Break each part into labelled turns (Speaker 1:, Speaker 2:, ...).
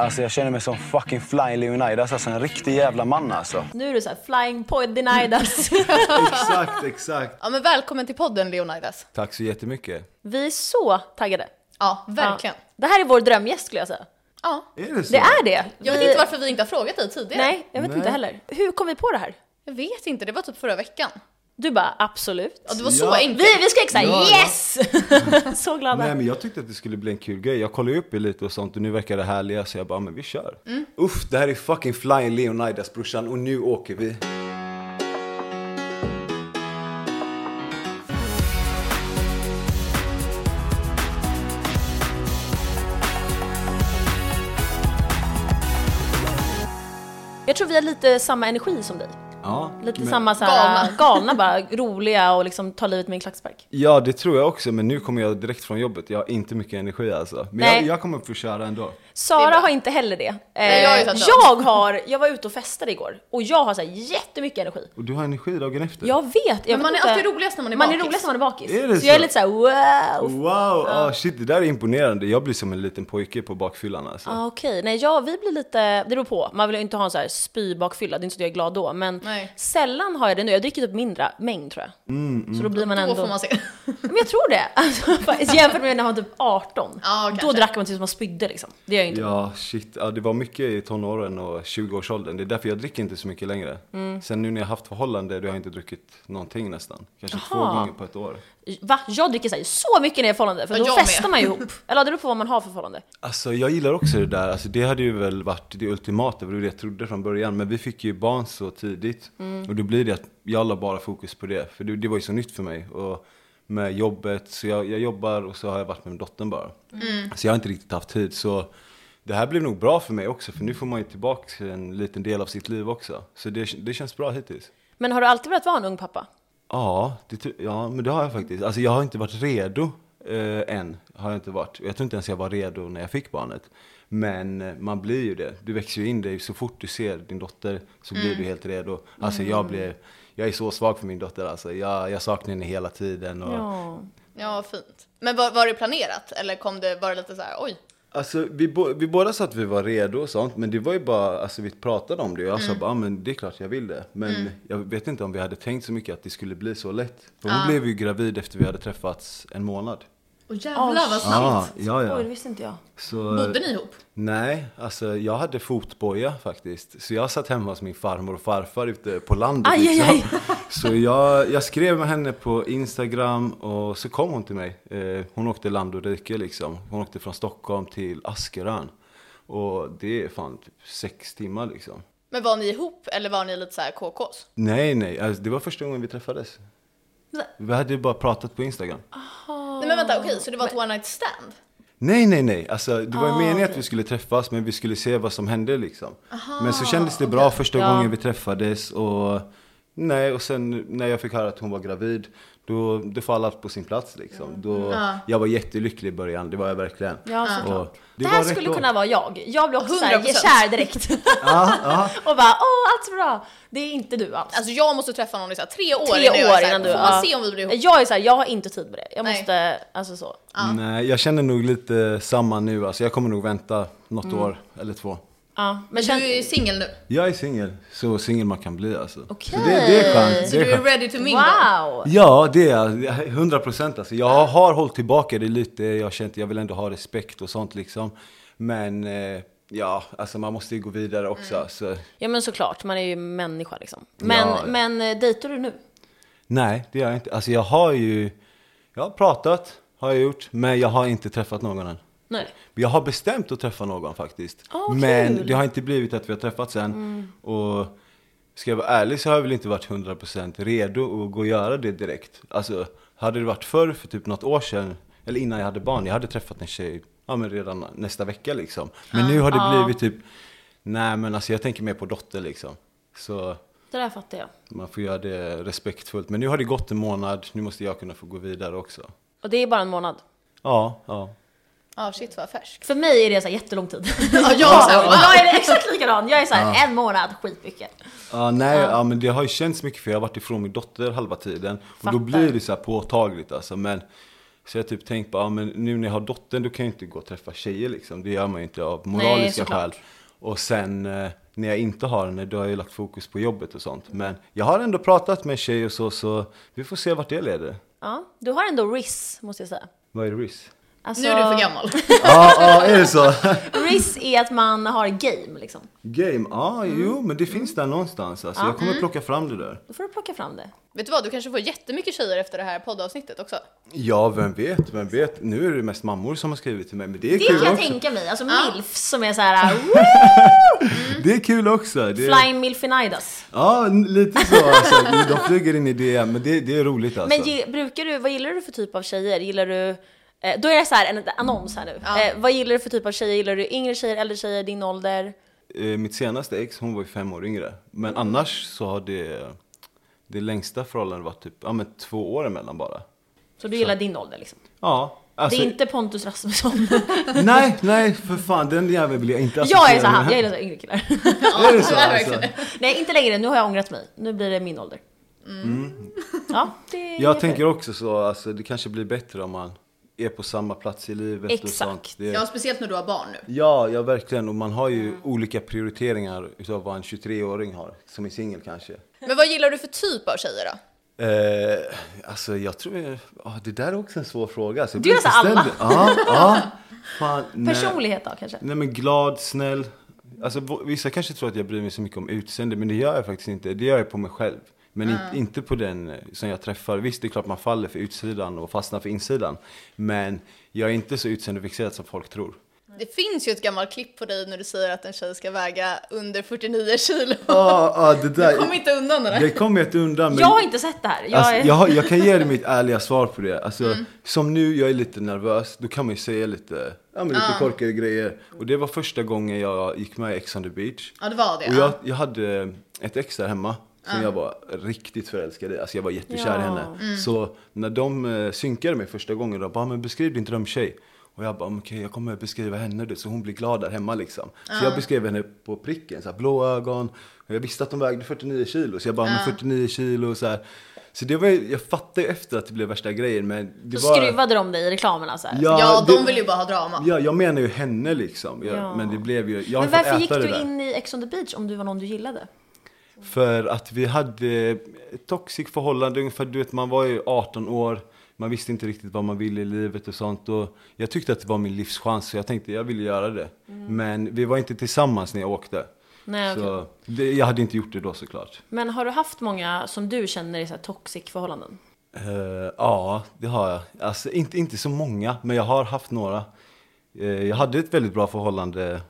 Speaker 1: Alltså jag känner mig som fucking flying Leonidas, alltså en riktig jävla man alltså.
Speaker 2: Nu är du så här flying point denidas.
Speaker 3: Exakt, exakt.
Speaker 4: Ja men välkommen till podden Leonidas.
Speaker 3: Tack så jättemycket.
Speaker 2: Vi är så taggade.
Speaker 4: Ja, verkligen.
Speaker 2: Ja. Det här är vår drömgäst skulle jag säga.
Speaker 4: Ja.
Speaker 3: Är det så?
Speaker 2: Det är det.
Speaker 4: Jag vet
Speaker 2: Vi-
Speaker 4: inte varför vi inte har frågat dig tidigare.
Speaker 2: Nej, jag vet inte heller. Hur kom vi på det här?
Speaker 4: Jag vet inte, det var typ förra veckan.
Speaker 2: Du bara absolut.
Speaker 4: Ja, det var så
Speaker 3: Ja.
Speaker 4: enkelt.
Speaker 2: Vi, vi skrek såhär
Speaker 3: Ja, ja.
Speaker 2: yes! så glada.
Speaker 3: Nej men jag tyckte att det skulle bli en kul grej. Jag kollade upp er lite och sånt och nu verkar det härliga så jag bara, men vi kör.
Speaker 2: Mm.
Speaker 3: Uff, det här är fucking flying Leonidas brorsan och nu åker vi.
Speaker 2: Jag tror vi har lite samma energi som dig.
Speaker 3: Ja,
Speaker 2: Lite
Speaker 3: men-
Speaker 2: samma såhär galna. bara, roliga och liksom tar livet med en klackspark.
Speaker 3: Ja det tror jag också men nu kommer jag direkt från jobbet. Jag har inte mycket energi alltså. Men
Speaker 2: Nej.
Speaker 3: jag, jag kommer att få köra ändå.
Speaker 2: Sara
Speaker 4: bra.
Speaker 2: har inte heller det.
Speaker 4: Nej, jag har ju
Speaker 2: Eh,
Speaker 4: tvärtom.
Speaker 2: jag har, jag var ute och festade igår och jag har såhär jättemycket energi.
Speaker 3: Och du har energi dagen efter.
Speaker 2: Jag vet, jag vet
Speaker 4: man är
Speaker 2: inte.
Speaker 4: alltid roligast när man är
Speaker 2: Man är
Speaker 4: bakis.
Speaker 2: roligast när man är bakis.
Speaker 3: Är det
Speaker 2: så, jag är
Speaker 3: så?
Speaker 2: lite såhär wow,
Speaker 3: Wow, ah, shit det där är imponerande. Jag blir som en liten pojke på bakfyllan alltså.
Speaker 2: Ah, Okej, nej jag, vi blir lite, det beror på. Man vill ju inte ha en så här spybakfylla, det är inte så att jag är glad då. Men
Speaker 4: Nej.
Speaker 2: sällan har jag det nu, jag dricker typ mindre mängd tror jag.
Speaker 3: Mm,
Speaker 2: Så då blir man
Speaker 4: Då
Speaker 2: ändå...
Speaker 4: får man se.
Speaker 2: Men jag tror det! Alltså, faktiskt, jämfört med när man var typ 18.
Speaker 4: Ja,
Speaker 2: då
Speaker 4: kanske.
Speaker 2: drack man tills man spydde liksom. Det gör jag inte.
Speaker 3: Ja, shit. Ja, det var mycket i tonåren och 20-årsåldern. Det är därför jag dricker inte så mycket längre. Sen nu när jag haft förhållande, då har jag inte druckit någonting nästan. Kanske två
Speaker 2: Jaha.
Speaker 3: gånger på ett år.
Speaker 2: Va? Jag dricker så, här, så mycket när jag är i förhållande, för
Speaker 4: Ja,
Speaker 2: då
Speaker 4: jag med.
Speaker 2: festar man ju ihop. Eller ja, det beror på vad man har för förhållande.
Speaker 3: Alltså, jag gillar också det där. Alltså, det hade ju väl varit det ultimata, det var det jag trodde från början. Men vi fick ju barn så tidigt. Och då blir det att jag la bara fokus på det. För det, det var ju så nytt för mig. Och med jobbet, så jag, jag jobbar och så har jag varit med dottern bara. Så jag har inte riktigt haft tid. Så det här blev nog bra för mig också, för nu får man ju tillbaka en liten del av sitt liv också. Så det, det känns bra hittills.
Speaker 2: Men har du alltid velat vara en ung pappa?
Speaker 3: Ja, det, tr- ja, men det har jag faktiskt. Alltså jag har inte varit redo eh, än. Har jag inte varit. Jag tror inte ens jag var redo när jag fick barnet. Men eh, man blir ju det. Du växer ju in dig. Så fort du ser din dotter så blir du helt redo. Alltså jag blev, jag är så svag för min dotter alltså. Jag, jag saknar henne hela tiden. Och,
Speaker 2: Ja.
Speaker 4: Ja, fint. Men var, var det planerat? Eller kom det bara lite så här, oj?
Speaker 3: Alltså vi, bo- vi båda sa att vi var redo och sånt. Men det var ju bara, alltså vi pratade om det. Och jag sa bara, ah, men det är klart jag vill det. Men jag vet inte om vi hade tänkt så mycket att det skulle bli så lätt. För hon blev ju gravid efter vi hade träffats en månad.
Speaker 4: Åh jävlar vad snabbt.
Speaker 3: Ah, ja, ja.
Speaker 2: Oj, det visste inte jag.
Speaker 3: Så,
Speaker 4: Bodde ni ihop?
Speaker 3: Nej, alltså jag hade fotboja faktiskt. Så jag satt hemma hos min farmor och farfar ute på landet. liksom.
Speaker 2: Aj, aj, aj.
Speaker 3: Så jag, jag skrev med henne på Instagram och så kom hon till mig. Eh, hon åkte land och rike liksom. Hon åkte från Stockholm till Askerön. Och det är fan typ sex timmar liksom.
Speaker 4: Men var ni ihop eller var ni lite så här KKs?
Speaker 3: Nej, nej, alltså, det var första gången vi träffades. Vi hade ju bara pratat på Instagram.
Speaker 4: Nej men vänta, okej, så det var ett one night stand?
Speaker 3: Nej, nej, nej. Alltså, det
Speaker 2: Ah,
Speaker 3: var ju meningen att vi skulle träffas, men vi skulle se vad som hände liksom. men så kändes det bra första
Speaker 2: Ja.
Speaker 3: gången vi träffades och nej, och sen när jag fick höra att hon var gravid, då, då fall allt på sin plats liksom. Då, Jag var jättelycklig i början, det var jag verkligen.
Speaker 2: Mm. Ja, såklart.
Speaker 3: Och
Speaker 2: Det,
Speaker 3: var
Speaker 2: här
Speaker 3: rätt
Speaker 2: skulle
Speaker 3: år.
Speaker 2: kunna vara jag. Jag blir också såhär
Speaker 4: 100%.
Speaker 2: kär direkt. och bara åh, allt är bra. Det är inte du alls.
Speaker 4: Alltså jag måste träffa någon i så här tre år
Speaker 2: tre
Speaker 4: innan jag är
Speaker 2: år
Speaker 4: så här,
Speaker 2: innan du... ah."
Speaker 4: Får man
Speaker 2: ja.
Speaker 4: se om vi blir ihop?
Speaker 2: Jag är såhär, jag har inte tid med det. Jag
Speaker 4: Nej.
Speaker 2: måste, alltså så.
Speaker 3: Nej, jag känner nog lite samma nu alltså. Jag kommer nog vänta något
Speaker 2: Mm.
Speaker 3: år eller två.
Speaker 2: Ja. Men
Speaker 4: Men
Speaker 2: känn,
Speaker 4: du är ju singel nu,
Speaker 3: Jag är singel, så singel man kan bli alltså.
Speaker 2: Okej.
Speaker 3: Så det, det är skönt.
Speaker 4: så
Speaker 3: det är
Speaker 4: du är
Speaker 3: skönt.
Speaker 4: ready to mingle?
Speaker 2: wow!
Speaker 3: Ja, det är jag. 100 procent alltså. Jag har, har hållit tillbaka det lite. Jag har känt, jag vill ändå ha respekt och sånt liksom. Men eh, ja, alltså man måste ju gå vidare också. Så,
Speaker 2: Ja men såklart, man är ju människa liksom. Men,
Speaker 3: Ja, ja.
Speaker 2: men eh, dejtar du nu?
Speaker 3: nej, det gör jag inte. Alltså jag har ju, jag har pratat, har jag gjort, men jag har inte träffat någon än.
Speaker 2: Nej.
Speaker 3: Jag har bestämt att träffa någon faktiskt.
Speaker 2: Åh, kul.
Speaker 3: men det har inte blivit att vi har träffats än. Och ska jag vara ärlig så har jag väl inte varit 100% redo att gå och göra det direkt. Alltså, hade det varit förr, för typ något år sedan, eller innan jag hade barn, jag hade träffat en tjej ja, men redan nästa vecka liksom. Men nu har det blivit typ, nej men alltså jag tänker mer på dotter liksom. Så
Speaker 2: Det där fattar jag.
Speaker 3: man får göra det respektfullt. Men nu har det gått en månad, nu måste jag kunna få gå vidare också.
Speaker 2: Och det är bara en månad.
Speaker 3: Ja, ja.
Speaker 4: Ja Ah, shit vad färsk.
Speaker 2: För mig är det så här jättelång tid.
Speaker 4: Ja jag var så här, wow.
Speaker 2: jag är exakt likadan, jag är såhär en månad, skitmycket.
Speaker 3: Ja, nej, ja. men det har ju känts mycket för jag har varit ifrån min dotter halva tiden. Och
Speaker 2: Fattar.
Speaker 3: då blir det så här påtagligt alltså. Men Så jag har typ tänkt bara, ah, men nu när jag har dottern då kan jag inte gå och träffa tjejer liksom. Det gör man ju inte av
Speaker 2: Nej,
Speaker 3: moraliska
Speaker 2: såklart.
Speaker 3: skäl. Och sen eh, när jag inte har henne, då har jag ju lagt fokus på jobbet och sånt. Men jag har ändå pratat med en tjej och så, så vi får se vart det leder.
Speaker 2: Ja, du har ändå RIS, måste jag säga.
Speaker 3: Vad är RIS?
Speaker 2: Alltså,
Speaker 4: Nu är du för gammal.
Speaker 3: Ja, ah, är det så?
Speaker 2: RIS är att man har game, liksom.
Speaker 3: Game, ja, ah, jo, men det finns där någonstans. Alltså, jag
Speaker 2: Mm.
Speaker 3: kommer plocka fram det där.
Speaker 2: Då får du plocka fram det.
Speaker 4: Vet du vad, du kanske får jättemycket tjejer efter det här poddavsnittet också.
Speaker 3: Ja, vem vet, vem vet. Nu är det mest mammor som har skrivit till mig, men det är
Speaker 2: Det
Speaker 3: kul
Speaker 2: kan jag
Speaker 3: också.
Speaker 2: tänka mig. Alltså milfs som är så här, woo,
Speaker 3: Det är kul också. Det är,
Speaker 2: flying milfinidas.
Speaker 3: ja, n- lite så. Alltså. De flyger in i DM, men det, det är roligt alltså.
Speaker 2: Men ge, brukar du, vad gillar du för typ av tjejer? Gillar du, eh, då är det så här en annons här nu. Eh, vad gillar du för typ av tjejer? Gillar du yngre tjejer, äldre tjejer, din ålder?
Speaker 3: Eh, Mitt senaste ex, hon var ju fem år yngre. Men annars så har det, det längsta förhållandet varit typ, ja men två år emellan bara.
Speaker 2: Så du gillar din ålder liksom?
Speaker 3: Ja. Alltså,
Speaker 2: det är inte Pontus Rasmusson.
Speaker 3: Nej, nej, för fan den jäveln vill jag inte
Speaker 2: jag är så
Speaker 3: associera
Speaker 2: här,
Speaker 3: med.
Speaker 2: jag gillar så här yngre killar.
Speaker 3: Är det så
Speaker 4: Ja,
Speaker 3: alltså?
Speaker 4: verkligen.
Speaker 2: Nej, inte längre. Nu har jag ångrat mig. Nu blir det min ålder. Mm. Ja, det är
Speaker 3: Mm. Jag
Speaker 2: inget
Speaker 3: tänker
Speaker 2: fel.
Speaker 3: också så, alltså, det kanske blir bättre om man är på samma plats i livet och
Speaker 2: Exakt.
Speaker 3: sånt. Det,
Speaker 4: Ja, speciellt när du har barn nu.
Speaker 3: Ja, ja verkligen. Och man har ju olika prioriteringar utav vad en 23-åring har, som är singel kanske.
Speaker 4: Men vad gillar du för typ av tjejer då?
Speaker 3: Eh, alltså jag tror, ja, det där är också en svår fråga. Alltså, jag
Speaker 2: Du
Speaker 3: blir
Speaker 2: är så alla.
Speaker 3: ställd. Ja, ja. Fan, nej.
Speaker 2: Personlighet då kanske?
Speaker 3: Nej men glad, snäll. Alltså v- vissa kanske tror att jag bryr mig så mycket om utseende, men det gör jag faktiskt inte. Det gör jag på mig själv. Men
Speaker 2: Ah.
Speaker 3: in, inte på den eh, som jag träffar. Visst, det är klart man faller för utsidan och fastnar för insidan. Men jag är inte så utseendefixerad som folk tror.
Speaker 4: Det finns ju ett gammalt klipp på dig när du säger att en tjej ska väga under 49 kilo.
Speaker 3: Ja, ja, Ah, det där.
Speaker 4: Kom inte undan det
Speaker 3: Det
Speaker 4: där.
Speaker 3: kommer jag inte undan. men-
Speaker 2: Jag har inte sett det här. Jag,
Speaker 3: Alltså,
Speaker 2: är- Mm.
Speaker 3: jag, har- jag kan ge dig mitt ärliga svar på det. Alltså, Som nu, jag är lite nervös, då kan man ju säga lite, ja, men lite korkade grejer. Och det var första gången jag gick med i Ex on the beach.
Speaker 4: Ja, det var det.
Speaker 3: Och jag,
Speaker 4: Ja.
Speaker 3: jag hade ett ex där hemma som jag var riktigt förälskad i. Alltså jag var jättekär i
Speaker 2: Ja. Mm.
Speaker 3: henne. Så när de eh, synkade mig första gången, de bara, "Ah, men beskriv din drömtjej. Och jag bara, "Men okej jag kommer beskriva henne du, så hon blir glad där hemma liksom. Så jag beskrev henne på pricken, så här, blå ögon. Och jag visste att hon vägde 49 kilo, så jag bara, men 49 kilo och så här. Så det var ju, jag fattade ju efter att det blev värsta grejen men det
Speaker 2: Så
Speaker 3: var...
Speaker 2: skruvade de dig i reklamerna så här.
Speaker 4: Ja,
Speaker 3: det-
Speaker 4: de vill ju bara ha drama.
Speaker 3: Ja, jag menar ju henne liksom. Jag,
Speaker 2: Ja.
Speaker 3: Men det blev ju, jag har
Speaker 2: Men
Speaker 3: ju fått
Speaker 2: varför
Speaker 3: äta
Speaker 2: gick
Speaker 3: det
Speaker 2: du
Speaker 3: där.
Speaker 2: in i Ex on the beach om du var någon du gillade?
Speaker 3: För att vi hade ett toxic förhållande, ungefär, du vet man var ju 18 år, man visste inte riktigt vad man ville i livet och sånt. Och jag tyckte att det var min livschans, så jag tänkte jag ville göra det. Men vi var inte tillsammans när jag åkte.
Speaker 2: Nej,
Speaker 3: så det, jag hade inte gjort det då såklart.
Speaker 2: Men har du haft många som du känner i så här toxic förhållanden?
Speaker 3: Eh, ja, det har jag. Alltså, inte, inte så många, men jag har haft några. Eh, jag hade ett väldigt bra förhållande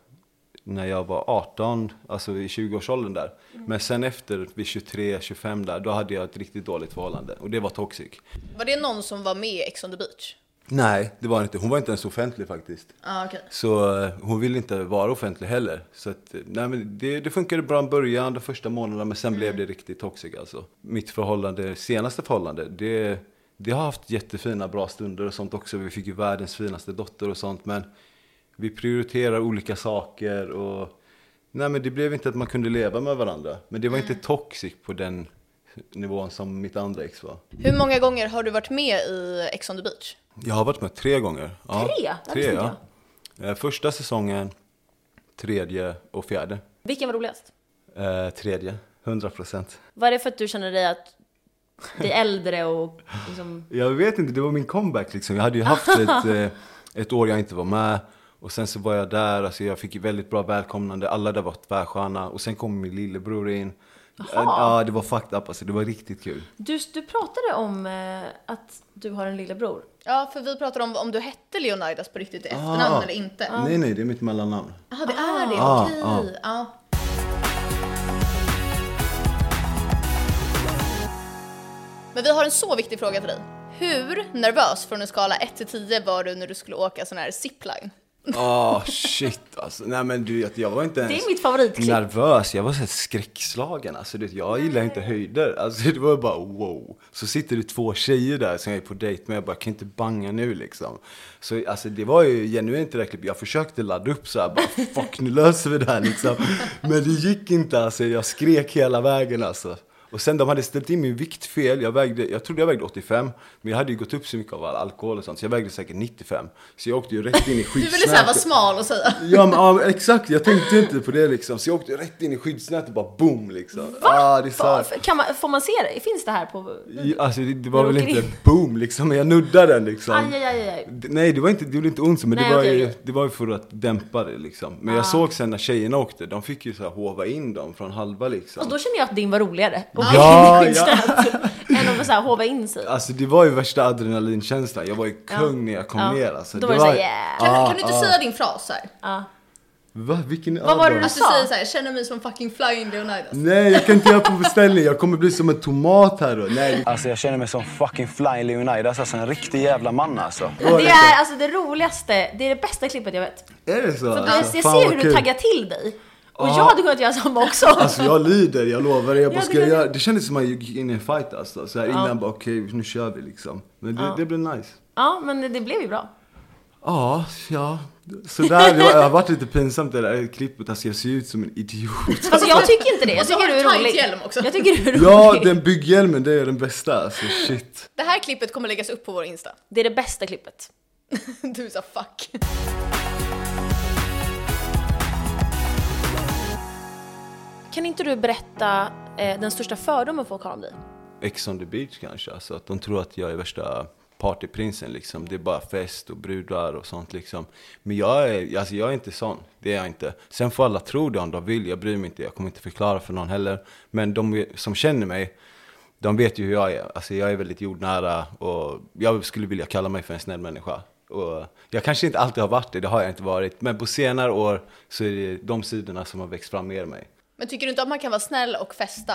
Speaker 3: när jag var 18, alltså i 20-årsåldern där. Men sen efter, vid 23-25 där, då hade jag ett riktigt dåligt förhållande. Och det var toxic.
Speaker 4: Var det någon som var med i Ex on the beach?
Speaker 3: Nej, det var det inte. Hon var inte ens offentlig faktiskt.
Speaker 4: Ja, okej.
Speaker 3: Så eh, hon ville inte vara offentlig heller. Så att, eh, nej, men det, det funkade bra i början, de första månaderna, men sen blev det riktigt toxic alltså. Mitt förhållande, senaste förhållande, det, det har haft jättefina bra stunder och sånt också. Vi fick ju världens finaste dotter och sånt, men vi prioriterar olika saker och nej, men det blev inte att man kunde leva med varandra. Men det var inte toxic på den nivån som mitt andra ex var.
Speaker 4: Hur många gånger har du varit med i Ex on the beach?
Speaker 3: Jag har varit med tre gånger. Ja,
Speaker 2: Tre? Det
Speaker 3: tre
Speaker 2: visste
Speaker 3: ja.
Speaker 2: inte
Speaker 3: Eh, Första säsongen, tredje och fjärde.
Speaker 2: Vilken var roligast?
Speaker 3: Eh, tredje, 100 procent.
Speaker 2: Var det för att du känner dig att bli äldre och liksom...
Speaker 3: Jag vet inte, det var min comeback liksom. Jag hade ju haft ett, eh, ett år jag inte var med. Och sen så var jag där, alltså jag fick väldigt bra välkomnande. Alla där var tvärsköna. Och sen kom min lillebror in. Eh, Ja, det var fucked up alltså. Det var riktigt kul.
Speaker 2: Du, du pratade om eh, att du har en lillebror.
Speaker 4: Ja, för vi pratade om om du hette Leonidas på riktigt i efternamn
Speaker 3: Ah.
Speaker 4: eller inte.
Speaker 3: Nej, nej, det är mitt mellannamn.
Speaker 4: Jaha, det är det.
Speaker 3: Ah,
Speaker 4: Okej.
Speaker 3: ah.
Speaker 4: Ja. Men vi har en så viktig fråga till dig. Hur nervös från en skala 1 till 10 var du när du skulle åka sån här zipline?
Speaker 3: Ah shit alltså. Nej men du, jag- jag var inte ens...
Speaker 2: Det är mitt favoritklipp.
Speaker 3: nervös, jag var så här skräckslagen. Alltså, du vet, jag gillar inte höjder. Alltså, det var bara wow. Så sitter det två tjejer där som jag är på dejt med. Jag bara, kan inte banga nu liksom. Så alltså, det var ju genuint det där klippet. Jag försökte ladda upp så här, bara fuck nu löser vi det här liksom. Men det gick inte alltså. Jag skrek hela vägen alltså. Och sen de hade ställt in min vikt fel. Jag, vägde, jag trodde jag vägde 85, men jag hade ju gått upp så mycket av all alkohol och sånt, så jag vägde säkert 95. Så jag åkte ju rätt in i
Speaker 4: Du
Speaker 3: skitsnacket.
Speaker 4: ville såhär vara smal och säga.
Speaker 3: Ja, men, ja, exakt. Jag tänkte inte på det liksom. Så jag åkte rätt in i skyddsnätet bara boom liksom. Ah, det är så här.
Speaker 2: Får- Kan man, får man se det? Finns det här på...
Speaker 3: Ja, Alltså det, det var
Speaker 2: Du
Speaker 3: väl
Speaker 2: åker
Speaker 3: inte
Speaker 2: in.
Speaker 3: boom liksom, men jag nuddade den liksom.
Speaker 2: Aj, aj, aj, aj.
Speaker 3: D- Nej, det var inte, det gjorde inte ont så, men
Speaker 2: Nej,
Speaker 3: det, var
Speaker 2: okej,
Speaker 3: ju,
Speaker 2: okej. Ah.
Speaker 3: det var ju för att dämpa det liksom. Men jag såg sen när tjejerna åkte, de fick ju så här hova in dem från halva liksom.
Speaker 2: Alltså, då känner jag att din var roligare. Och
Speaker 3: Ja,
Speaker 2: min
Speaker 3: ja.
Speaker 2: skyddsnät. Än att så här håva in sig.
Speaker 3: Alltså det var ju värsta adrenalinkänslan, jag var ju kung när jag kom
Speaker 2: Ja.
Speaker 3: ner alltså.
Speaker 2: Då var det så här, yeah.
Speaker 4: Kan,
Speaker 3: Ah,
Speaker 4: kan du inte
Speaker 3: ah.
Speaker 4: säga din fras här? Alltså,
Speaker 3: Va? Vilken
Speaker 2: Vad var det
Speaker 3: adren?
Speaker 2: du
Speaker 4: Att du
Speaker 2: sa?
Speaker 4: säger såhär, jag känner mig som fucking flying Leonidas.
Speaker 3: Nej, jag kan inte göra på beställning, jag kommer bli som en tomat här då. Nej,
Speaker 1: Alltså jag känner mig som fucking Fly Leonidas, alltså en riktig jävla man alltså.
Speaker 3: var
Speaker 2: Det
Speaker 3: det
Speaker 2: är alltså det roligaste, det är det bästa klippet jag vet.
Speaker 3: är det så?
Speaker 2: För att
Speaker 3: Alltså,
Speaker 2: jag
Speaker 3: fan,
Speaker 2: ser
Speaker 3: vad
Speaker 2: hur du
Speaker 3: kul.
Speaker 2: taggar till dig. Och
Speaker 3: Ja.
Speaker 2: jag hade kunnat göra samma också.
Speaker 3: Alltså jag lider, jag lovar dig. Jag bara,
Speaker 2: Ja, det
Speaker 3: ska jag
Speaker 2: kan-
Speaker 3: göra? Det kändes som att jag gick in i en fight alltså. Så här innan bara okej, nu kör vi liksom. Men det, det blev nice.
Speaker 2: Ja, men det, det blev ju bra.
Speaker 3: Ja, ja. Sådär, det har varit lite pinsamt det där klippet. Alltså jag ser ut som en idiot.
Speaker 2: Alltså jag tycker inte det. Jag
Speaker 4: Och så
Speaker 2: tycker
Speaker 4: har
Speaker 2: du
Speaker 4: du
Speaker 2: är
Speaker 4: tajt
Speaker 2: rolig.
Speaker 4: hjälm också.
Speaker 2: Jag tycker du är rolig.
Speaker 3: Ja, den bygghjälmen, det är den bästa. Alltså shit.
Speaker 4: Det här klippet kommer läggas upp på vår Insta.
Speaker 2: Det är det bästa klippet.
Speaker 4: Du sa fuck.
Speaker 2: Kan inte du berätta eh, den största fördomen folk har om dig?
Speaker 3: Ex on the beach kanske. Alltså att de tror att jag är värsta partyprinsen liksom. Det är bara fest och brudar och sånt liksom. Men jag är, alltså jag är inte sån. Det är jag inte. Sen får alla tro det om de vill. Jag bryr mig inte. Jag kommer inte förklara för någon heller. Men de som känner mig, de vet ju hur jag är. Alltså jag är väldigt jordnära och jag skulle vilja kalla mig för en snäll människa. Och jag kanske inte alltid har varit det, det har jag inte varit. Men på senare år så är det de sidorna som har växt fram mer i mig.
Speaker 4: Men tycker du inte att man kan vara snäll och festa?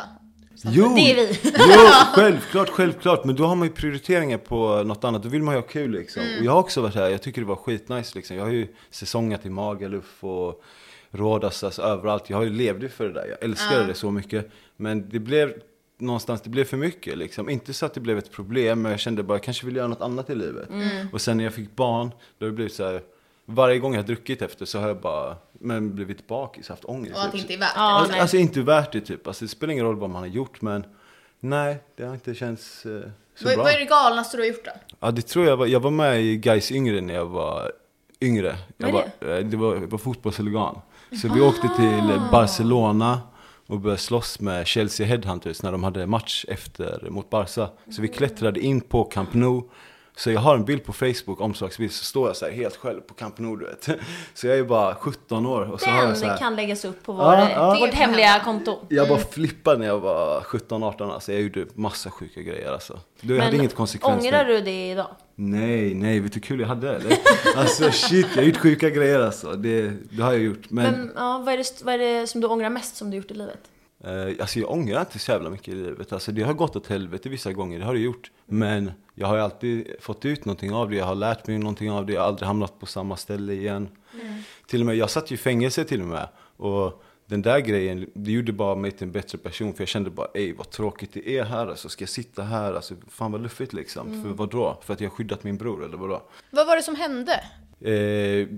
Speaker 3: Jo,
Speaker 2: Det är vi.
Speaker 3: jo, självklart, självklart. Men då har man ju prioriteringar på något annat. Då vill man ju ha kul liksom. Och jag har också varit här, jag tycker det var skitnice liksom. Jag har ju säsongat i Magaluf och Rhodos, alltså överallt. Jag har ju levde för det där, jag älskade det så mycket. Men det blev någonstans, det blev för mycket liksom. Inte så att det blev ett problem, men jag kände bara, jag kanske vill göra något annat i livet. Och sen när jag fick barn, då har det blivit så här. Varje gång jag har druckit efter så har jag bara men blivit bakis, haft ångest.
Speaker 4: Och att det
Speaker 3: typ.
Speaker 4: inte är värt
Speaker 2: Ja,
Speaker 4: det?
Speaker 3: Alltså,
Speaker 2: nej.
Speaker 3: alltså inte värt det typ. Alltså, det spelar ingen roll vad man har gjort men nej, det har inte känts eh, så
Speaker 4: Vad,
Speaker 3: bra.
Speaker 4: vad är det galnaste du har gjort då?
Speaker 3: Ja, det tror jag var, jag var med i Gais yngre när jag var yngre. Jag
Speaker 2: Vad
Speaker 3: var,
Speaker 2: är
Speaker 3: eh, det var, jag var fotbollshuligan. Så vi åkte till eh, Barcelona och började slåss med Chelsea Headhunters när de hade match efter mot Barca. Så vi klättrade in på Camp Nou. Så jag har en bild på Facebook, omslagsbild, så står jag så här helt själv på Camp Nou du vet. Så jag är bara 17 år och så har jag så här,
Speaker 2: Den kan läggas upp på vår, eh,
Speaker 3: Ja, ja.
Speaker 2: vårt
Speaker 4: Det är
Speaker 2: hemliga
Speaker 4: hemma.
Speaker 2: konto.
Speaker 3: Jag bara flippade när jag var 17-18 alltså. Jag gjorde massa sjuka grejer alltså. Du, jag hade inget konsekvens.
Speaker 2: ångrar du det idag?
Speaker 3: Nej, nej, vet du hur kul jag hade eller? alltså shit, jag har gjort sjuka grejer alltså. Det, det har jag gjort. Men,
Speaker 2: Men, ja, vad, är det, vad är det som du ångrar mest som du gjort i livet?
Speaker 3: Eh, alltså jag ångrar inte så jävla mycket i livet. Alltså det har gått åt helvete vissa gånger, det har det gjort. Men jag har ju alltid fått ut någonting av det, jag har lärt mig någonting av det, jag har aldrig hamnat på samma ställe igen. Till och med, jag satt ju i fängelse till och med. Och den där grejen, det gjorde bara mig till en bättre person. För jag kände bara, ej vad tråkigt det är här alltså. Ska jag sitta här? Alltså fan vad luffigt liksom. För vadå? För att jag har skyddat min bror eller vadå?
Speaker 4: Vad var det som hände?
Speaker 3: Eh,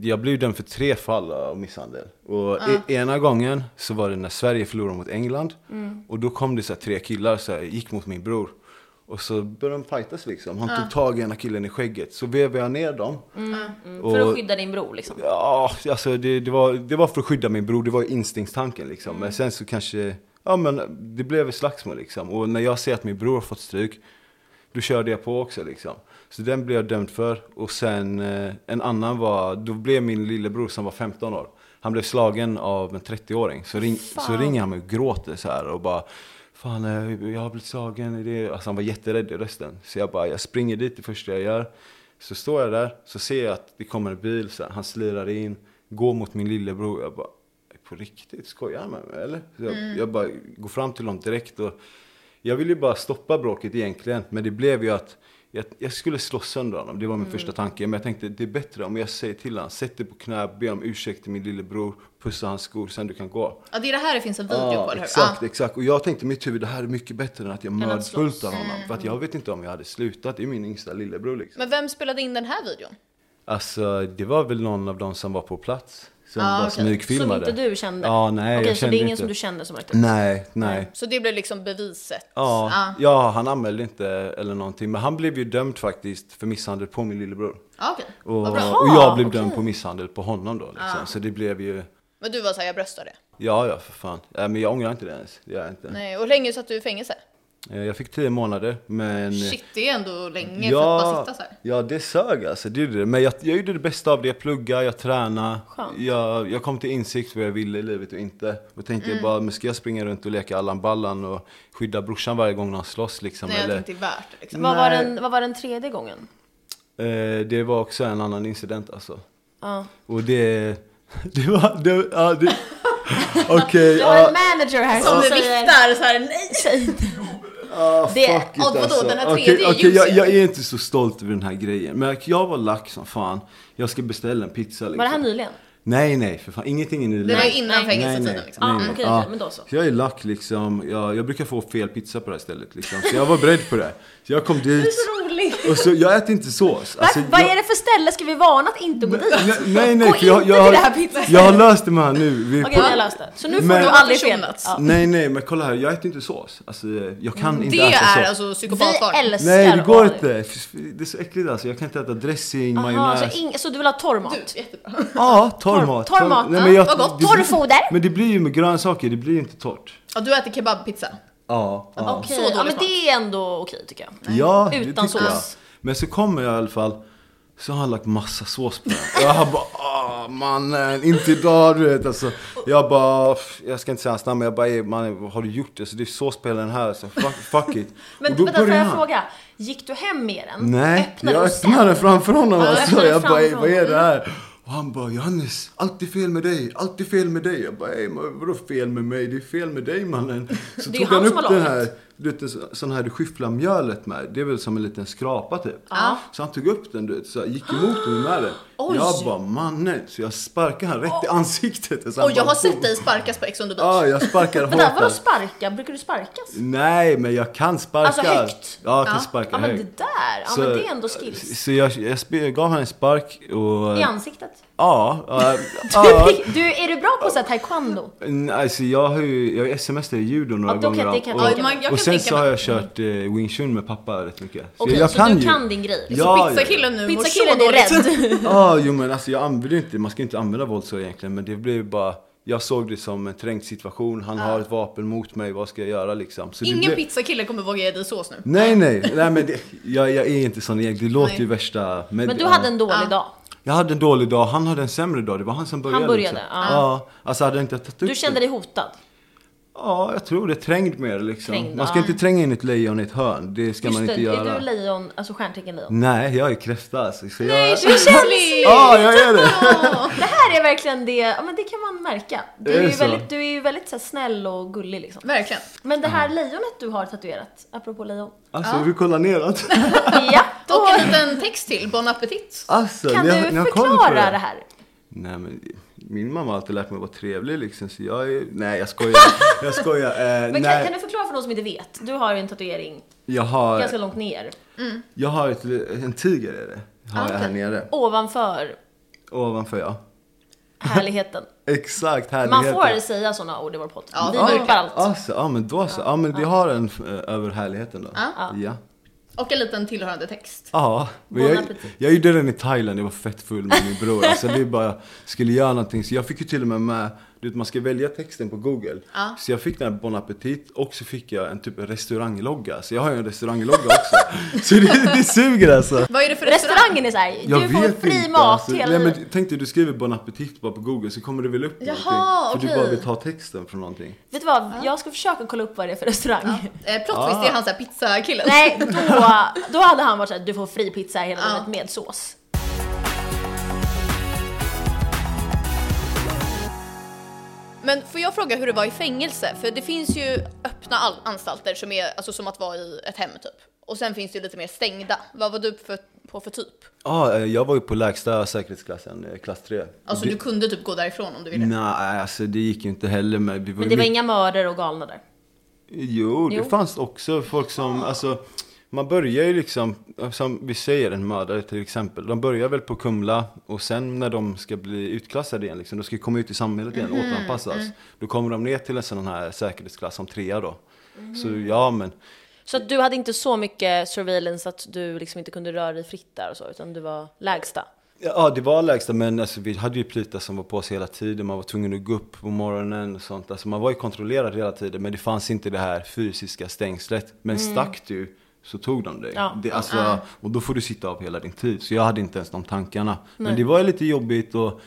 Speaker 3: jag blev dömd för tre fall av misshandel. Och e- ena gången så var det när Sverige förlorade mot England. Och då kom det så här tre killar så här, gick mot min bror. Och så började de fightas liksom. Han tog tag i ena killen i skägget. Så vevade jag ner dem.
Speaker 2: Mm, För att
Speaker 3: Och-
Speaker 2: skydda din bror liksom.
Speaker 3: Ja, alltså det, det, var, det var för att skydda min bror, det var ju instinktstanken liksom. Men sen så kanske, ja men det blev ett slagsmål liksom. Och när jag ser att min bror har fått stryk, då körde jag på också liksom. Så den blev jag dömd för. Och sen eh, en annan var, då blev min lillebror som var 15 år, han blev slagen av en 30-åring. Så, ring, så ringer han mig och gråter så här och bara Fan, eh, jag har blivit slagen. är Det... Alltså han var jätterädd i rösten. Så jag bara, jag springer dit det första jag gör. Så står jag där, så ser jag att det kommer en bil, så här, han slirar in, går mot min lillebror. Jag bara, på riktigt, skojar han med mig eller? Så jag, jag bara går fram till honom direkt och jag ville ju bara stoppa bråket egentligen, men det blev ju att jag, jag skulle slå sönder honom, det var min första tanke. Men jag tänkte, det är bättre om jag säger till honom, sätt dig på knä, be om ursäkt till min lillebror, pussa hans skor, sen du kan gå.
Speaker 4: Ja, det är det här det finns en video på, eller hur?
Speaker 3: Exakt,
Speaker 4: Ja.
Speaker 3: exakt. Och jag tänkte i mitt huvud, det här är mycket bättre än att jag
Speaker 2: att
Speaker 3: mördbultar
Speaker 2: slåss.
Speaker 3: honom. För att jag vet inte om jag hade slutat, det är min yngsta lillebror liksom.
Speaker 4: Men vem spelade in den här videon?
Speaker 3: Alltså, det var väl någon av dem som var på plats. Som
Speaker 4: Ah,
Speaker 3: bara
Speaker 4: okej.
Speaker 3: smygfilmade.
Speaker 2: Som inte du kände?
Speaker 3: Ja, nej,
Speaker 2: Okej,
Speaker 3: jag
Speaker 2: så
Speaker 3: kände
Speaker 2: det är ingen
Speaker 3: inte.
Speaker 2: som du kände som rökte?
Speaker 3: Nej, nej.
Speaker 4: Så det blev liksom beviset.
Speaker 3: Ja,
Speaker 4: Ah.
Speaker 3: ja, han anmälde inte eller någonting. Men han blev ju dömd faktiskt för misshandel på min lillebror.
Speaker 4: Ja, okej.
Speaker 3: Och,
Speaker 4: Vad bra.
Speaker 3: och jag blev
Speaker 2: okej.
Speaker 3: dömd på misshandel på honom då liksom. Så det blev ju,
Speaker 4: Men du var såhär, jag bröstar det.
Speaker 3: ja ja för fan. Äh, men jag ångrar inte det ens, det gör jag inte.
Speaker 4: Nej, och hur länge satt du i fängelse?
Speaker 3: Eh, Jag fick tio månader men...
Speaker 4: Shit, det är ändå länge för att bara sitta så här.
Speaker 3: ja, det sög alltså. Det gjorde det. Men jag, jag gjorde det bästa av det. Jag pluggade, jag tränade.
Speaker 2: Skönt.
Speaker 3: Jag, jag kom till insikt vad jag ville i livet och inte. Och tänkte jag bara, men ska jag springa runt och leka Allan Ballan och skydda brorsan varje gång någon slåss liksom?
Speaker 4: Nej, jag
Speaker 3: eller, Mm.
Speaker 4: tror inte det är värt det liksom.
Speaker 2: Vad var,
Speaker 3: Nej.
Speaker 2: den, vad var den tredje gången?
Speaker 3: eh, det var också en annan incident alltså.
Speaker 2: Ja.
Speaker 3: Och det... Det var... Det, ja, det, Okej,
Speaker 2: Du har
Speaker 3: ja.
Speaker 2: en manager här
Speaker 4: Som
Speaker 2: som
Speaker 4: det
Speaker 2: säger...
Speaker 4: viftar såhär, nej!
Speaker 3: Ah,
Speaker 2: Det-
Speaker 3: fuck it,
Speaker 4: och vadå,
Speaker 3: alltså.
Speaker 4: den här
Speaker 3: Okej,
Speaker 4: tredje är
Speaker 3: okej, jag,
Speaker 4: ljuset.
Speaker 3: jag är inte så stolt över den här grejen. Men jag var lack som fan. Jag ska beställa en pizza liksom.
Speaker 2: Var det här nyligen?
Speaker 3: Nej, nej, för fan. Ingenting är nyligen.
Speaker 4: Det var ju innan
Speaker 2: Nej.
Speaker 3: Nej,
Speaker 4: fängelsetiden
Speaker 3: nej,
Speaker 4: liksom.
Speaker 2: nej.
Speaker 3: nej,
Speaker 2: Ah,
Speaker 3: nej.
Speaker 2: okej, okej, men då så.
Speaker 3: jag är lack liksom. Jag, jag brukar få fel pizza på det här stället liksom. Så jag var beredd på det. Så jag kom dit.
Speaker 2: Rolig.
Speaker 3: Och så, jag äter inte sås. Alltså,
Speaker 2: vad
Speaker 3: jag-
Speaker 2: är det för ställe? Ska vi varna att inte gå dit?
Speaker 3: Nej, nej, nej
Speaker 2: Gå
Speaker 3: för jag,
Speaker 2: inte
Speaker 3: jag,
Speaker 2: till det här
Speaker 3: har,
Speaker 2: pizzastället.
Speaker 3: jag har löst det med han nu. Vi-
Speaker 2: Okej, vi har löst det. Så nu får
Speaker 3: Men-
Speaker 2: du aldrig fel.
Speaker 4: Försonats.
Speaker 2: Ja. Mm,
Speaker 3: Nej, nej, men kolla här. Jag äter inte sås. Alltså, jag kan inte
Speaker 4: Det
Speaker 3: äta sås.
Speaker 4: är alltså psykopatbarn.
Speaker 2: Vi älskar
Speaker 3: Nej, det går
Speaker 2: Arif.
Speaker 3: inte. F- Det är så äckligt alltså. Jag kan inte äta dressing,
Speaker 2: Aha, så,
Speaker 3: majonnäs.
Speaker 2: ing- så du vill ha torr mat?
Speaker 4: Du, jättebra.
Speaker 3: Ja, torr
Speaker 2: Torr-
Speaker 3: mat.
Speaker 2: torr mat,
Speaker 3: Nej,
Speaker 2: ja.
Speaker 3: men jag-
Speaker 4: Vad gott.
Speaker 3: det-
Speaker 2: Torrfoder.
Speaker 3: Men det blir ju med grönsaker, det blir ju inte torrt.
Speaker 4: Ja, du äter kebabpizza.
Speaker 3: Ja, ja.
Speaker 2: Okej,
Speaker 4: Så dålig
Speaker 2: ja, men
Speaker 4: smak.
Speaker 2: det är ändå okej tycker jag.
Speaker 3: ja det
Speaker 2: Utan
Speaker 3: tycker jag.
Speaker 2: sås.
Speaker 3: Men så kommer jag i alla fall, så har han lagt massa sås på den. Jag har bara, ah mannen, inte idag du vet alltså. Jag bara, pff, jag ska inte säga hans namn, men jag bara, "Ey, mannen vad har du gjort? Alltså, det är sås på hela den här, så fuck, fuck it.
Speaker 2: Men
Speaker 3: Och då
Speaker 2: vänta, får
Speaker 3: börjar
Speaker 2: jag
Speaker 3: han.
Speaker 2: fråga? Gick du hem med den?
Speaker 3: Nej,
Speaker 2: öppnade
Speaker 3: jag
Speaker 2: och sen-
Speaker 3: öppnade framför honom
Speaker 2: Ja,
Speaker 3: alltså.
Speaker 2: öppnade
Speaker 3: Jag bara,
Speaker 2: framför
Speaker 3: "Ey, vad är
Speaker 2: honom."
Speaker 3: det här? Och han bara, Johannes, allt är fel med dig, allt är fel med dig. Jag bara, "Ey, men vadå fel med mig? Det är fel med dig mannen. Så
Speaker 2: Det är
Speaker 3: tog
Speaker 2: han
Speaker 3: han
Speaker 2: som
Speaker 3: upp
Speaker 2: har
Speaker 3: den
Speaker 2: lagat.
Speaker 3: här, du vet en så- sån här du skyfflar mjölet med. Det är väl som en liten skrapa typ.
Speaker 2: Ja.
Speaker 3: Så han tog upp den du vet, så här, gick emot mig med den.
Speaker 2: Oj.
Speaker 3: Jag bara, mannen. Så jag sparkade han rätt i ansiktet. Så han
Speaker 4: Och jag
Speaker 3: bara,
Speaker 4: har sett
Speaker 3: boom.
Speaker 4: dig sparkas på Ex on the beach.
Speaker 3: Ja, jag sparkade hårt.
Speaker 2: Vänta, vadå
Speaker 3: där.
Speaker 2: sparka? Brukar du sparkas?
Speaker 3: Nej, men jag kan sparka.
Speaker 2: Alltså högt?
Speaker 3: Ja, jag kan
Speaker 4: Ja.
Speaker 3: sparka
Speaker 2: Ja men
Speaker 3: högt.
Speaker 2: det där, ja men det är ändå skills.
Speaker 3: Så jag, jag sp- gav han en spark och... eh,
Speaker 2: I ansiktet.
Speaker 3: Ja. ja, ja
Speaker 2: Du, är du bra på så här taekwondo?
Speaker 3: N- alltså jag har ju, jag smsade i judo några
Speaker 2: Ja, då kan-
Speaker 3: gånger.
Speaker 2: det kan-
Speaker 3: och,
Speaker 2: ja, man-
Speaker 4: jag kan
Speaker 3: och sen
Speaker 4: tänka
Speaker 3: så har
Speaker 4: mig.
Speaker 3: jag kört eh, wing chun med pappa rätt mycket. Så
Speaker 2: Okej,
Speaker 3: jag
Speaker 2: så du kan din grej, liksom.
Speaker 3: Ja, ja.
Speaker 4: Pizzakillen nu mår så
Speaker 2: Pizzakillen är
Speaker 4: dåligt.
Speaker 2: rädd.
Speaker 3: Ja, jo men alltså jag använder inte, man ska inte använda våld så egentligen men det blev bara jag såg det som en trängd situation, han har ett vapen mot mig, vad ska jag göra liksom? Så det
Speaker 4: Ingen
Speaker 3: blev-
Speaker 4: pizzakille kommer våga ge dig sås nu.
Speaker 3: Nej nej, nej men det, jag, jag är inte sån egentligen, det låter
Speaker 4: Nej.
Speaker 3: ju värsta...
Speaker 2: Men du hade en
Speaker 4: Ja.
Speaker 2: dålig dag.
Speaker 3: Jag hade en dålig dag, han hade en sämre dag, det var han som började.
Speaker 2: Han började,
Speaker 3: liksom.
Speaker 2: ja.
Speaker 3: ja. Alltså hade jag inte tagit upp
Speaker 2: Du kände
Speaker 3: det.
Speaker 2: dig hotad.
Speaker 3: Ja, jag tror det. Trängd mer liksom.
Speaker 2: Trängd,
Speaker 3: man ska
Speaker 2: ja.
Speaker 3: inte tränga in ett lejon i ett hörn, det ska
Speaker 2: Just
Speaker 3: man inte
Speaker 2: det,
Speaker 3: göra.
Speaker 2: är du lejon, alltså stjärntecken lejon?
Speaker 3: Nej, jag är kräfta alltså. Så
Speaker 4: Nej,
Speaker 3: jag...
Speaker 4: tjej, Chelsea!
Speaker 3: Ja, jag är det!
Speaker 2: Det här är verkligen det, ja men det kan man märka. Du
Speaker 3: Är
Speaker 2: är,
Speaker 3: det
Speaker 2: ju
Speaker 3: så?
Speaker 2: väldigt, du är ju väldigt så här, snäll och gullig liksom.
Speaker 4: Verkligen.
Speaker 2: Men det
Speaker 3: Mm.
Speaker 2: här lejonet du har tatuerat, apropå lejon.
Speaker 3: Alltså, vi kollar neråt.
Speaker 2: Ja,
Speaker 4: Och
Speaker 2: och
Speaker 4: en liten text till, Bon Appetit.
Speaker 3: Alltså,
Speaker 2: kan
Speaker 3: ni
Speaker 2: du
Speaker 3: har- ni har koll på
Speaker 2: förklara det här?
Speaker 3: Nej, men min mamma har alltid lärt mig att vara trevlig liksom, så jag är... Nej, jag skojar. jag skojar. Eh,
Speaker 2: Men kan,
Speaker 3: nej,
Speaker 2: kan du förklara för någon som inte vet? Du har ju en tatuering
Speaker 3: jag har,
Speaker 2: ganska långt ner,
Speaker 3: jag har ett, en tiger är det. Har jag här
Speaker 4: okej.
Speaker 3: nere.
Speaker 2: ovanför
Speaker 3: Ovanför ja.
Speaker 2: härligheten.
Speaker 3: Exakt, härligheten.
Speaker 2: Man får säga sådana ord i vår podd.
Speaker 4: Ja,
Speaker 2: Vi
Speaker 4: ja.
Speaker 2: muppar allt.
Speaker 3: Alltså, ja men då så. Ja men vi har en eh, över härligheten då.
Speaker 4: Ja.
Speaker 3: Ja.
Speaker 4: Och en liten tillhörande text.
Speaker 3: Ja, men
Speaker 2: Bon
Speaker 3: jag,
Speaker 2: appetit.
Speaker 3: jag gjorde den i Thailand, jag var fett full med min bror. Alltså vi bara skulle göra någonting. Så jag fick ju till och med med, du vet man ska välja texten på google.
Speaker 4: Ja.
Speaker 3: Så jag fick den här Bon Appetit och så fick jag en typ en restauranglogga. Så jag har ju en restauranglogga också. så det, det suger alltså.
Speaker 4: Vad är det för restaurang?
Speaker 2: Restaurangen är såhär,
Speaker 3: Jag
Speaker 2: du får fri mat
Speaker 3: alltså.
Speaker 2: hela
Speaker 3: Nej, men
Speaker 2: livet.
Speaker 3: Tänk dig, du skriver Bon Appetit bara på google så kommer det väl upp
Speaker 4: Jaha,
Speaker 3: någonting. För
Speaker 4: okej.
Speaker 3: du bara vill ta texten från någonting.
Speaker 2: Vet du vad, jag ska försöka kolla upp vad det är för restaurang.
Speaker 4: Eh, plot
Speaker 3: Ah.
Speaker 4: twist, det är han såhär pizzakillen.
Speaker 2: Nej, då, då hade han varit såhär, du får fri pizza hela
Speaker 4: Ja.
Speaker 2: livet med sås.
Speaker 4: Men får jag fråga hur det var i fängelse? För det finns ju öppna all- anstalter som är alltså, som att vara i ett hem typ. Och sen finns det ju lite mer stängda. Vad var du för, på för typ?
Speaker 3: Ja, eh, jag var ju på lägsta säkerhetsklassen, eh, klass 3.
Speaker 4: Alltså du kunde typ gå därifrån om du ville.
Speaker 3: Nej, alltså det gick ju inte heller med. Vi var
Speaker 2: Men det var
Speaker 3: mitt-
Speaker 2: inga mördare och galna där.
Speaker 3: Jo, det
Speaker 2: Jo.
Speaker 3: fanns också folk som, alltså man börjar ju liksom, som vi säger en mördare till exempel, de börjar väl på Kumla och sen när de ska bli utklassade igen, liksom, de ska komma ut i samhället igen, återanpassas, då kommer de ner till en sån här säkerhetsklass som trea då. Så ja, men
Speaker 2: Så att du hade inte så mycket surveillance att du liksom inte kunde röra dig fritt där och så, utan du var lägsta?
Speaker 3: Ja, det var lägsta, men alltså, vi hade ju plitar som var på oss hela tiden. Man var tvungen att gå upp på morgonen och sånt. Alltså, man var ju kontrollerad hela tiden, men det fanns inte det här fysiska stängslet. Men stack du så tog de dig.
Speaker 2: Mm. Ja.
Speaker 3: Det, alltså, Och då får du sitta av hela din tid. Så jag hade inte ens de tankarna. Men det var ju lite jobbigt och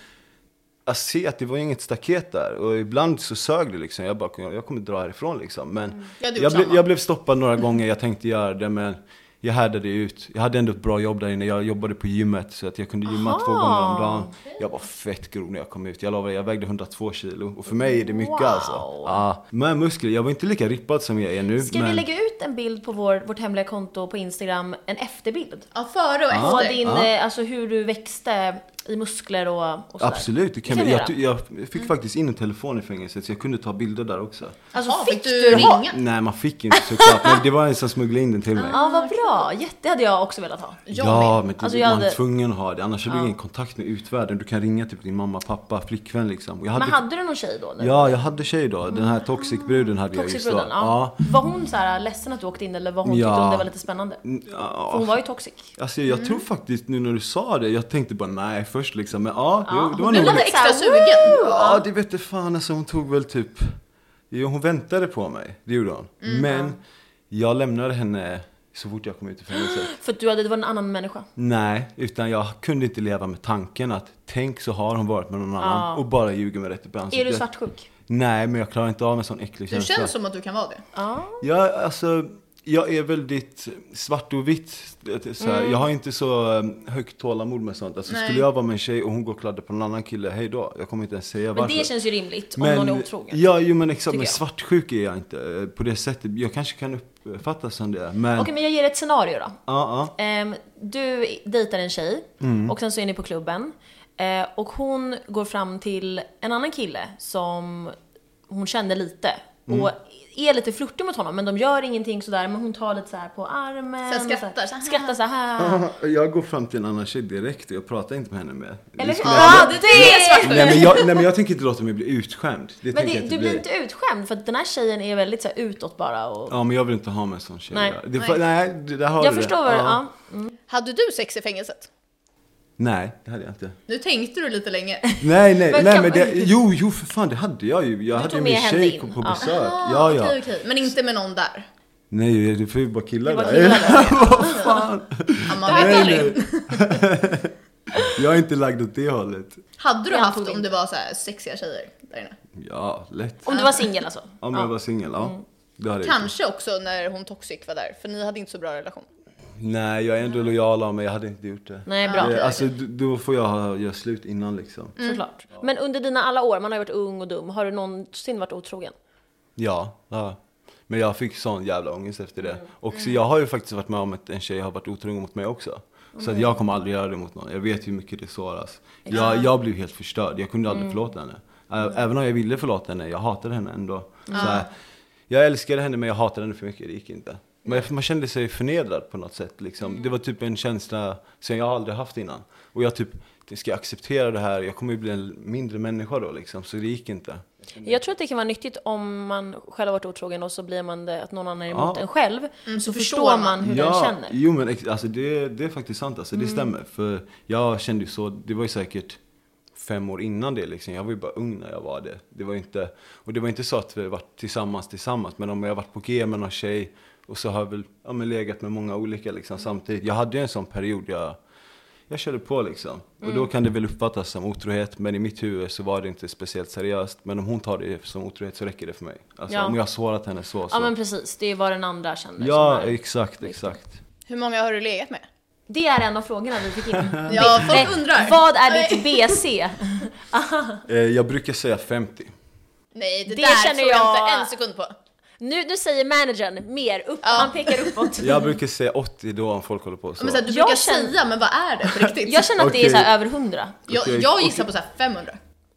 Speaker 3: att se att det var inget staket där. Och ibland så sög det liksom. Jag bara, jag jag kommer dra härifrån liksom. Men
Speaker 2: Mm.
Speaker 4: Jag hade gjort
Speaker 3: jag, ble,
Speaker 4: samma.
Speaker 3: jag blev stoppad några gånger. Jag tänkte göra det, men jag härdade ut. Jag hade ändå ett bra jobb där inne. Jag jobbade på gymmet så att jag kunde gymma
Speaker 2: Ah.
Speaker 3: två gånger om dagen. Jag var fett grov när jag kom ut. Jag lovar, jag vägde 102 kilo. Och för mig är det mycket
Speaker 2: Wow.
Speaker 3: alltså. Ja, med muskler. Jag var inte lika rippad som jag är nu.
Speaker 2: Ska vi
Speaker 3: men-
Speaker 2: lägga ut en bild på vår, vårt hemliga konto på Instagram, en efterbild?
Speaker 4: Ja, före och
Speaker 2: På
Speaker 4: efter.
Speaker 2: din, eh, alltså hur du växte i muskler och, och sådär.
Speaker 3: Absolut, det kan
Speaker 2: Det
Speaker 3: vi.
Speaker 2: kan
Speaker 3: Jag,
Speaker 2: vi Mm.
Speaker 3: ty- jag fick faktiskt in en telefon i fängelset så jag kunde ta bilder där också.
Speaker 2: Alltså
Speaker 4: Ja,
Speaker 2: fick du, ha?
Speaker 4: ringa?
Speaker 3: Nej, man fick inte såklart. Men det var en som smugglade in den till mig.
Speaker 2: Ja, vad bra. Jätte, det hade Ah, jag också velat ha.
Speaker 4: Jag
Speaker 3: ja,
Speaker 4: med.
Speaker 3: men det,
Speaker 2: Alltså, jag
Speaker 3: man är
Speaker 2: hade-
Speaker 3: tvungen att ha det. Annars har du ingen kontakt med utvärlden. Du kan ringa typ din mamma, pappa, flickvän liksom. Och Jag
Speaker 2: Men hade du någon tjej då? Nu?
Speaker 3: Ja, jag hade tjej då. Den här toxicbruden hade jag
Speaker 2: Toxic
Speaker 3: just då.
Speaker 2: bruden, ja. Var hon så här ledsen att du åkte in eller var hon
Speaker 3: Ja. Mm,
Speaker 2: tyckte hon det var lite spännande?
Speaker 3: Ja.
Speaker 2: För hon var ju toxic.
Speaker 3: Alltså jag tror faktiskt nu när du sa det, jag tänkte bara nej först liksom. Men ja, jo, det var
Speaker 2: Du
Speaker 3: nog...
Speaker 4: Hon var
Speaker 2: lät
Speaker 4: extra
Speaker 2: Exakt.
Speaker 4: sugen.
Speaker 3: Ja, det vet du fan alltså hon tog väl typ... Jo, hon väntade på mig. Det gjorde hon. Men jag lämnade henne så fort jag kom ut ur fängelset.
Speaker 2: För att du hade, du var en annan människa.
Speaker 3: Nej, utan jag kunde inte leva med tanken att tänk så har hon varit med någon annan och bara ljuger mig rätt upp i
Speaker 2: Är
Speaker 3: ansiktet.
Speaker 2: du svartsjuk?
Speaker 3: Nej, men jag klarar inte av en sån äcklig
Speaker 4: Du
Speaker 3: känsla.
Speaker 4: känns som att du kan vara det.
Speaker 3: Ja, alltså, jag är väldigt svart och vitt. Så
Speaker 2: Mm.
Speaker 3: här. Jag har inte så um, högt tålamod med sånt. Alltså,
Speaker 4: Nej.
Speaker 3: skulle jag vara med en tjej och hon går och kladdar på någon annan kille, hej då. Jag kommer inte ens säga
Speaker 2: Men
Speaker 3: varför.
Speaker 2: det känns ju rimligt om någon är otrogen.
Speaker 3: Ja, jo, men exakt.
Speaker 2: Tycker
Speaker 3: Men
Speaker 2: jag.
Speaker 3: svartsjuk är jag inte eh, på det sättet. Jag kanske kan uppfattas som det. Men,
Speaker 2: Okej, men jag ger ett scenario då.
Speaker 3: ja, ja.
Speaker 2: Ehm, du dejtar en tjej
Speaker 3: Mm.
Speaker 2: och sen så är ni på klubben. Eh, och hon går fram till en annan kille som hon kände lite.
Speaker 3: Mm.
Speaker 2: Och är lite flörtig mot honom men de gör ingenting sådär men hon tar lite såhär på armen.
Speaker 4: Så här
Speaker 2: och
Speaker 4: skrattar, så här.
Speaker 2: skrattar såhär.
Speaker 3: Jag går fram till en annan tjej direkt och jag pratar inte med henne mer. Det
Speaker 2: Ah. Eller hur?
Speaker 3: skulle jag-
Speaker 2: Ah!
Speaker 4: Ja, det, det är svartsjuka.
Speaker 3: Nej men, jag, nej men jag tänker inte låta mig bli utskämd. Det
Speaker 2: Men
Speaker 3: tänker
Speaker 2: det,
Speaker 3: jag
Speaker 2: du blir inte utskämd för att den här tjejen är väldigt så här utåt bara och...
Speaker 3: Ja men jag vill inte ha med en sån tjej.
Speaker 2: Nej.
Speaker 3: det, nej. nej det, där har
Speaker 2: jag
Speaker 3: du
Speaker 2: förstår
Speaker 3: det.
Speaker 2: vad du...
Speaker 3: Ja.
Speaker 2: Ja.
Speaker 4: Hade du sex i fängelset?
Speaker 3: Nej, det hade jag inte.
Speaker 4: Nu tänkte du lite länge.
Speaker 3: Nej, nej,
Speaker 2: Men
Speaker 3: nej men
Speaker 2: kan man-
Speaker 3: det, jo, jo för fan det hade jag ju. Jag hade
Speaker 2: tog
Speaker 3: ju
Speaker 2: med
Speaker 3: min
Speaker 2: henne
Speaker 3: tjej
Speaker 2: in.
Speaker 3: på, på
Speaker 2: Ja.
Speaker 3: besök. ja, ja.
Speaker 4: Ah, Okej, okej. Men inte med någon där.
Speaker 3: Nej, det får ju bara killar
Speaker 2: Det var
Speaker 3: där.
Speaker 2: killar
Speaker 3: Vad fan.
Speaker 4: Ja, man vet
Speaker 3: Nej,
Speaker 4: aldrig.
Speaker 3: nej. jag är inte lagd åt det hållet.
Speaker 4: Hade du
Speaker 2: Jag
Speaker 4: haft
Speaker 2: tog
Speaker 4: om
Speaker 2: inte.
Speaker 4: det var så här sexiga tjejer där inne?
Speaker 3: Ja, lätt.
Speaker 2: Om du var singel alltså?
Speaker 3: Om jag var singel, ja.
Speaker 2: Mm.
Speaker 3: Det
Speaker 2: Typ.
Speaker 3: hade jag gjort.
Speaker 4: Kanske också när hon toxic var där, för ni hade inte så bra relation.
Speaker 3: Nej, jag är ändå lojal av mig. Jag hade inte gjort det.
Speaker 2: Nej, bra. Mm.
Speaker 3: Det, alltså, d- då får jag ha- göra slut innan liksom.
Speaker 2: Såklart. Men under dina alla år, man har ju varit ung och dum, har du någonsin varit otrogen?
Speaker 3: Ja, ja. Men jag fick sån jävla ångest efter det. Och så jag har ju faktiskt varit med om att en tjej har varit otrogen mot mig också. Så att jag kommer aldrig göra det mot någon. Jag vet hur mycket det såras. Jag, jag blev helt förstörd. Jag kunde aldrig förlåta henne. Ä- Även om jag ville förlåta henne, jag hatade henne ändå. Så här, jag älskade henne men jag hatade henne för mycket, det gick inte. Men jag- man kände sig förnedrad på något sätt. Liksom. Det var typ en känsla som jag aldrig haft innan. Och jag typ, ska jag acceptera det här? Jag kommer ju bli en mindre människa då liksom. Så det gick inte.
Speaker 2: Jag tror att det kan vara nyttigt om man själv har varit otrogen och så blir man det att någon annan är emot
Speaker 3: Ja.
Speaker 2: en själv. så,
Speaker 4: Mm, så
Speaker 2: förstår
Speaker 4: förstår
Speaker 2: man,
Speaker 4: man.
Speaker 2: hur den känner. Mm.
Speaker 3: Jo men ex- alltså, det, det är faktiskt sant alltså, det stämmer. För jag kände ju så, det var ju säkert fem år innan det liksom. Jag var ju bara ung när jag var det. Det var ju inte, och det var inte så att vi varit tillsammans tillsammans. Men om jag har varit på G med någon tjej och så har jag väl ja, men legat med många olika liksom samtidigt. Jag hade ju en sån period jag, jag körde på liksom. Och
Speaker 2: Mm.
Speaker 3: då kan det väl uppfattas som otrohet. Men i mitt huvud så var det inte speciellt seriöst. Men om hon tar det som otrohet så räcker det för mig. Alltså
Speaker 2: Ja.
Speaker 3: om jag har sårat henne så. så.
Speaker 2: Ja men precis, det är vad den andra känner.
Speaker 3: ja
Speaker 2: som är-
Speaker 3: exakt, exakt.
Speaker 4: Hur många har du legat med?
Speaker 2: Det är en av frågorna vi fick in.
Speaker 4: Ja,
Speaker 2: Nej,
Speaker 4: folk undrar.
Speaker 2: Vad är ditt BC?
Speaker 3: Eh, Jag brukar säga 50.
Speaker 4: Nej, det,
Speaker 2: Det
Speaker 4: där
Speaker 2: känner
Speaker 4: tror jag,
Speaker 2: jag-
Speaker 4: inte en sekund på.
Speaker 2: Nu, nu säger managern mer, upp,
Speaker 4: Ja.
Speaker 2: han pekar uppåt.
Speaker 3: Jag brukar säga 80 då om folk håller på så.
Speaker 4: Mm. Men så här, du
Speaker 2: Jag
Speaker 4: brukar
Speaker 2: känner-
Speaker 4: säga, men vad är det på riktigt?
Speaker 2: Jag känner att det är
Speaker 3: Okej.
Speaker 2: så här över 100.
Speaker 4: jag,
Speaker 3: Okej,
Speaker 4: jag gissar på så här 500.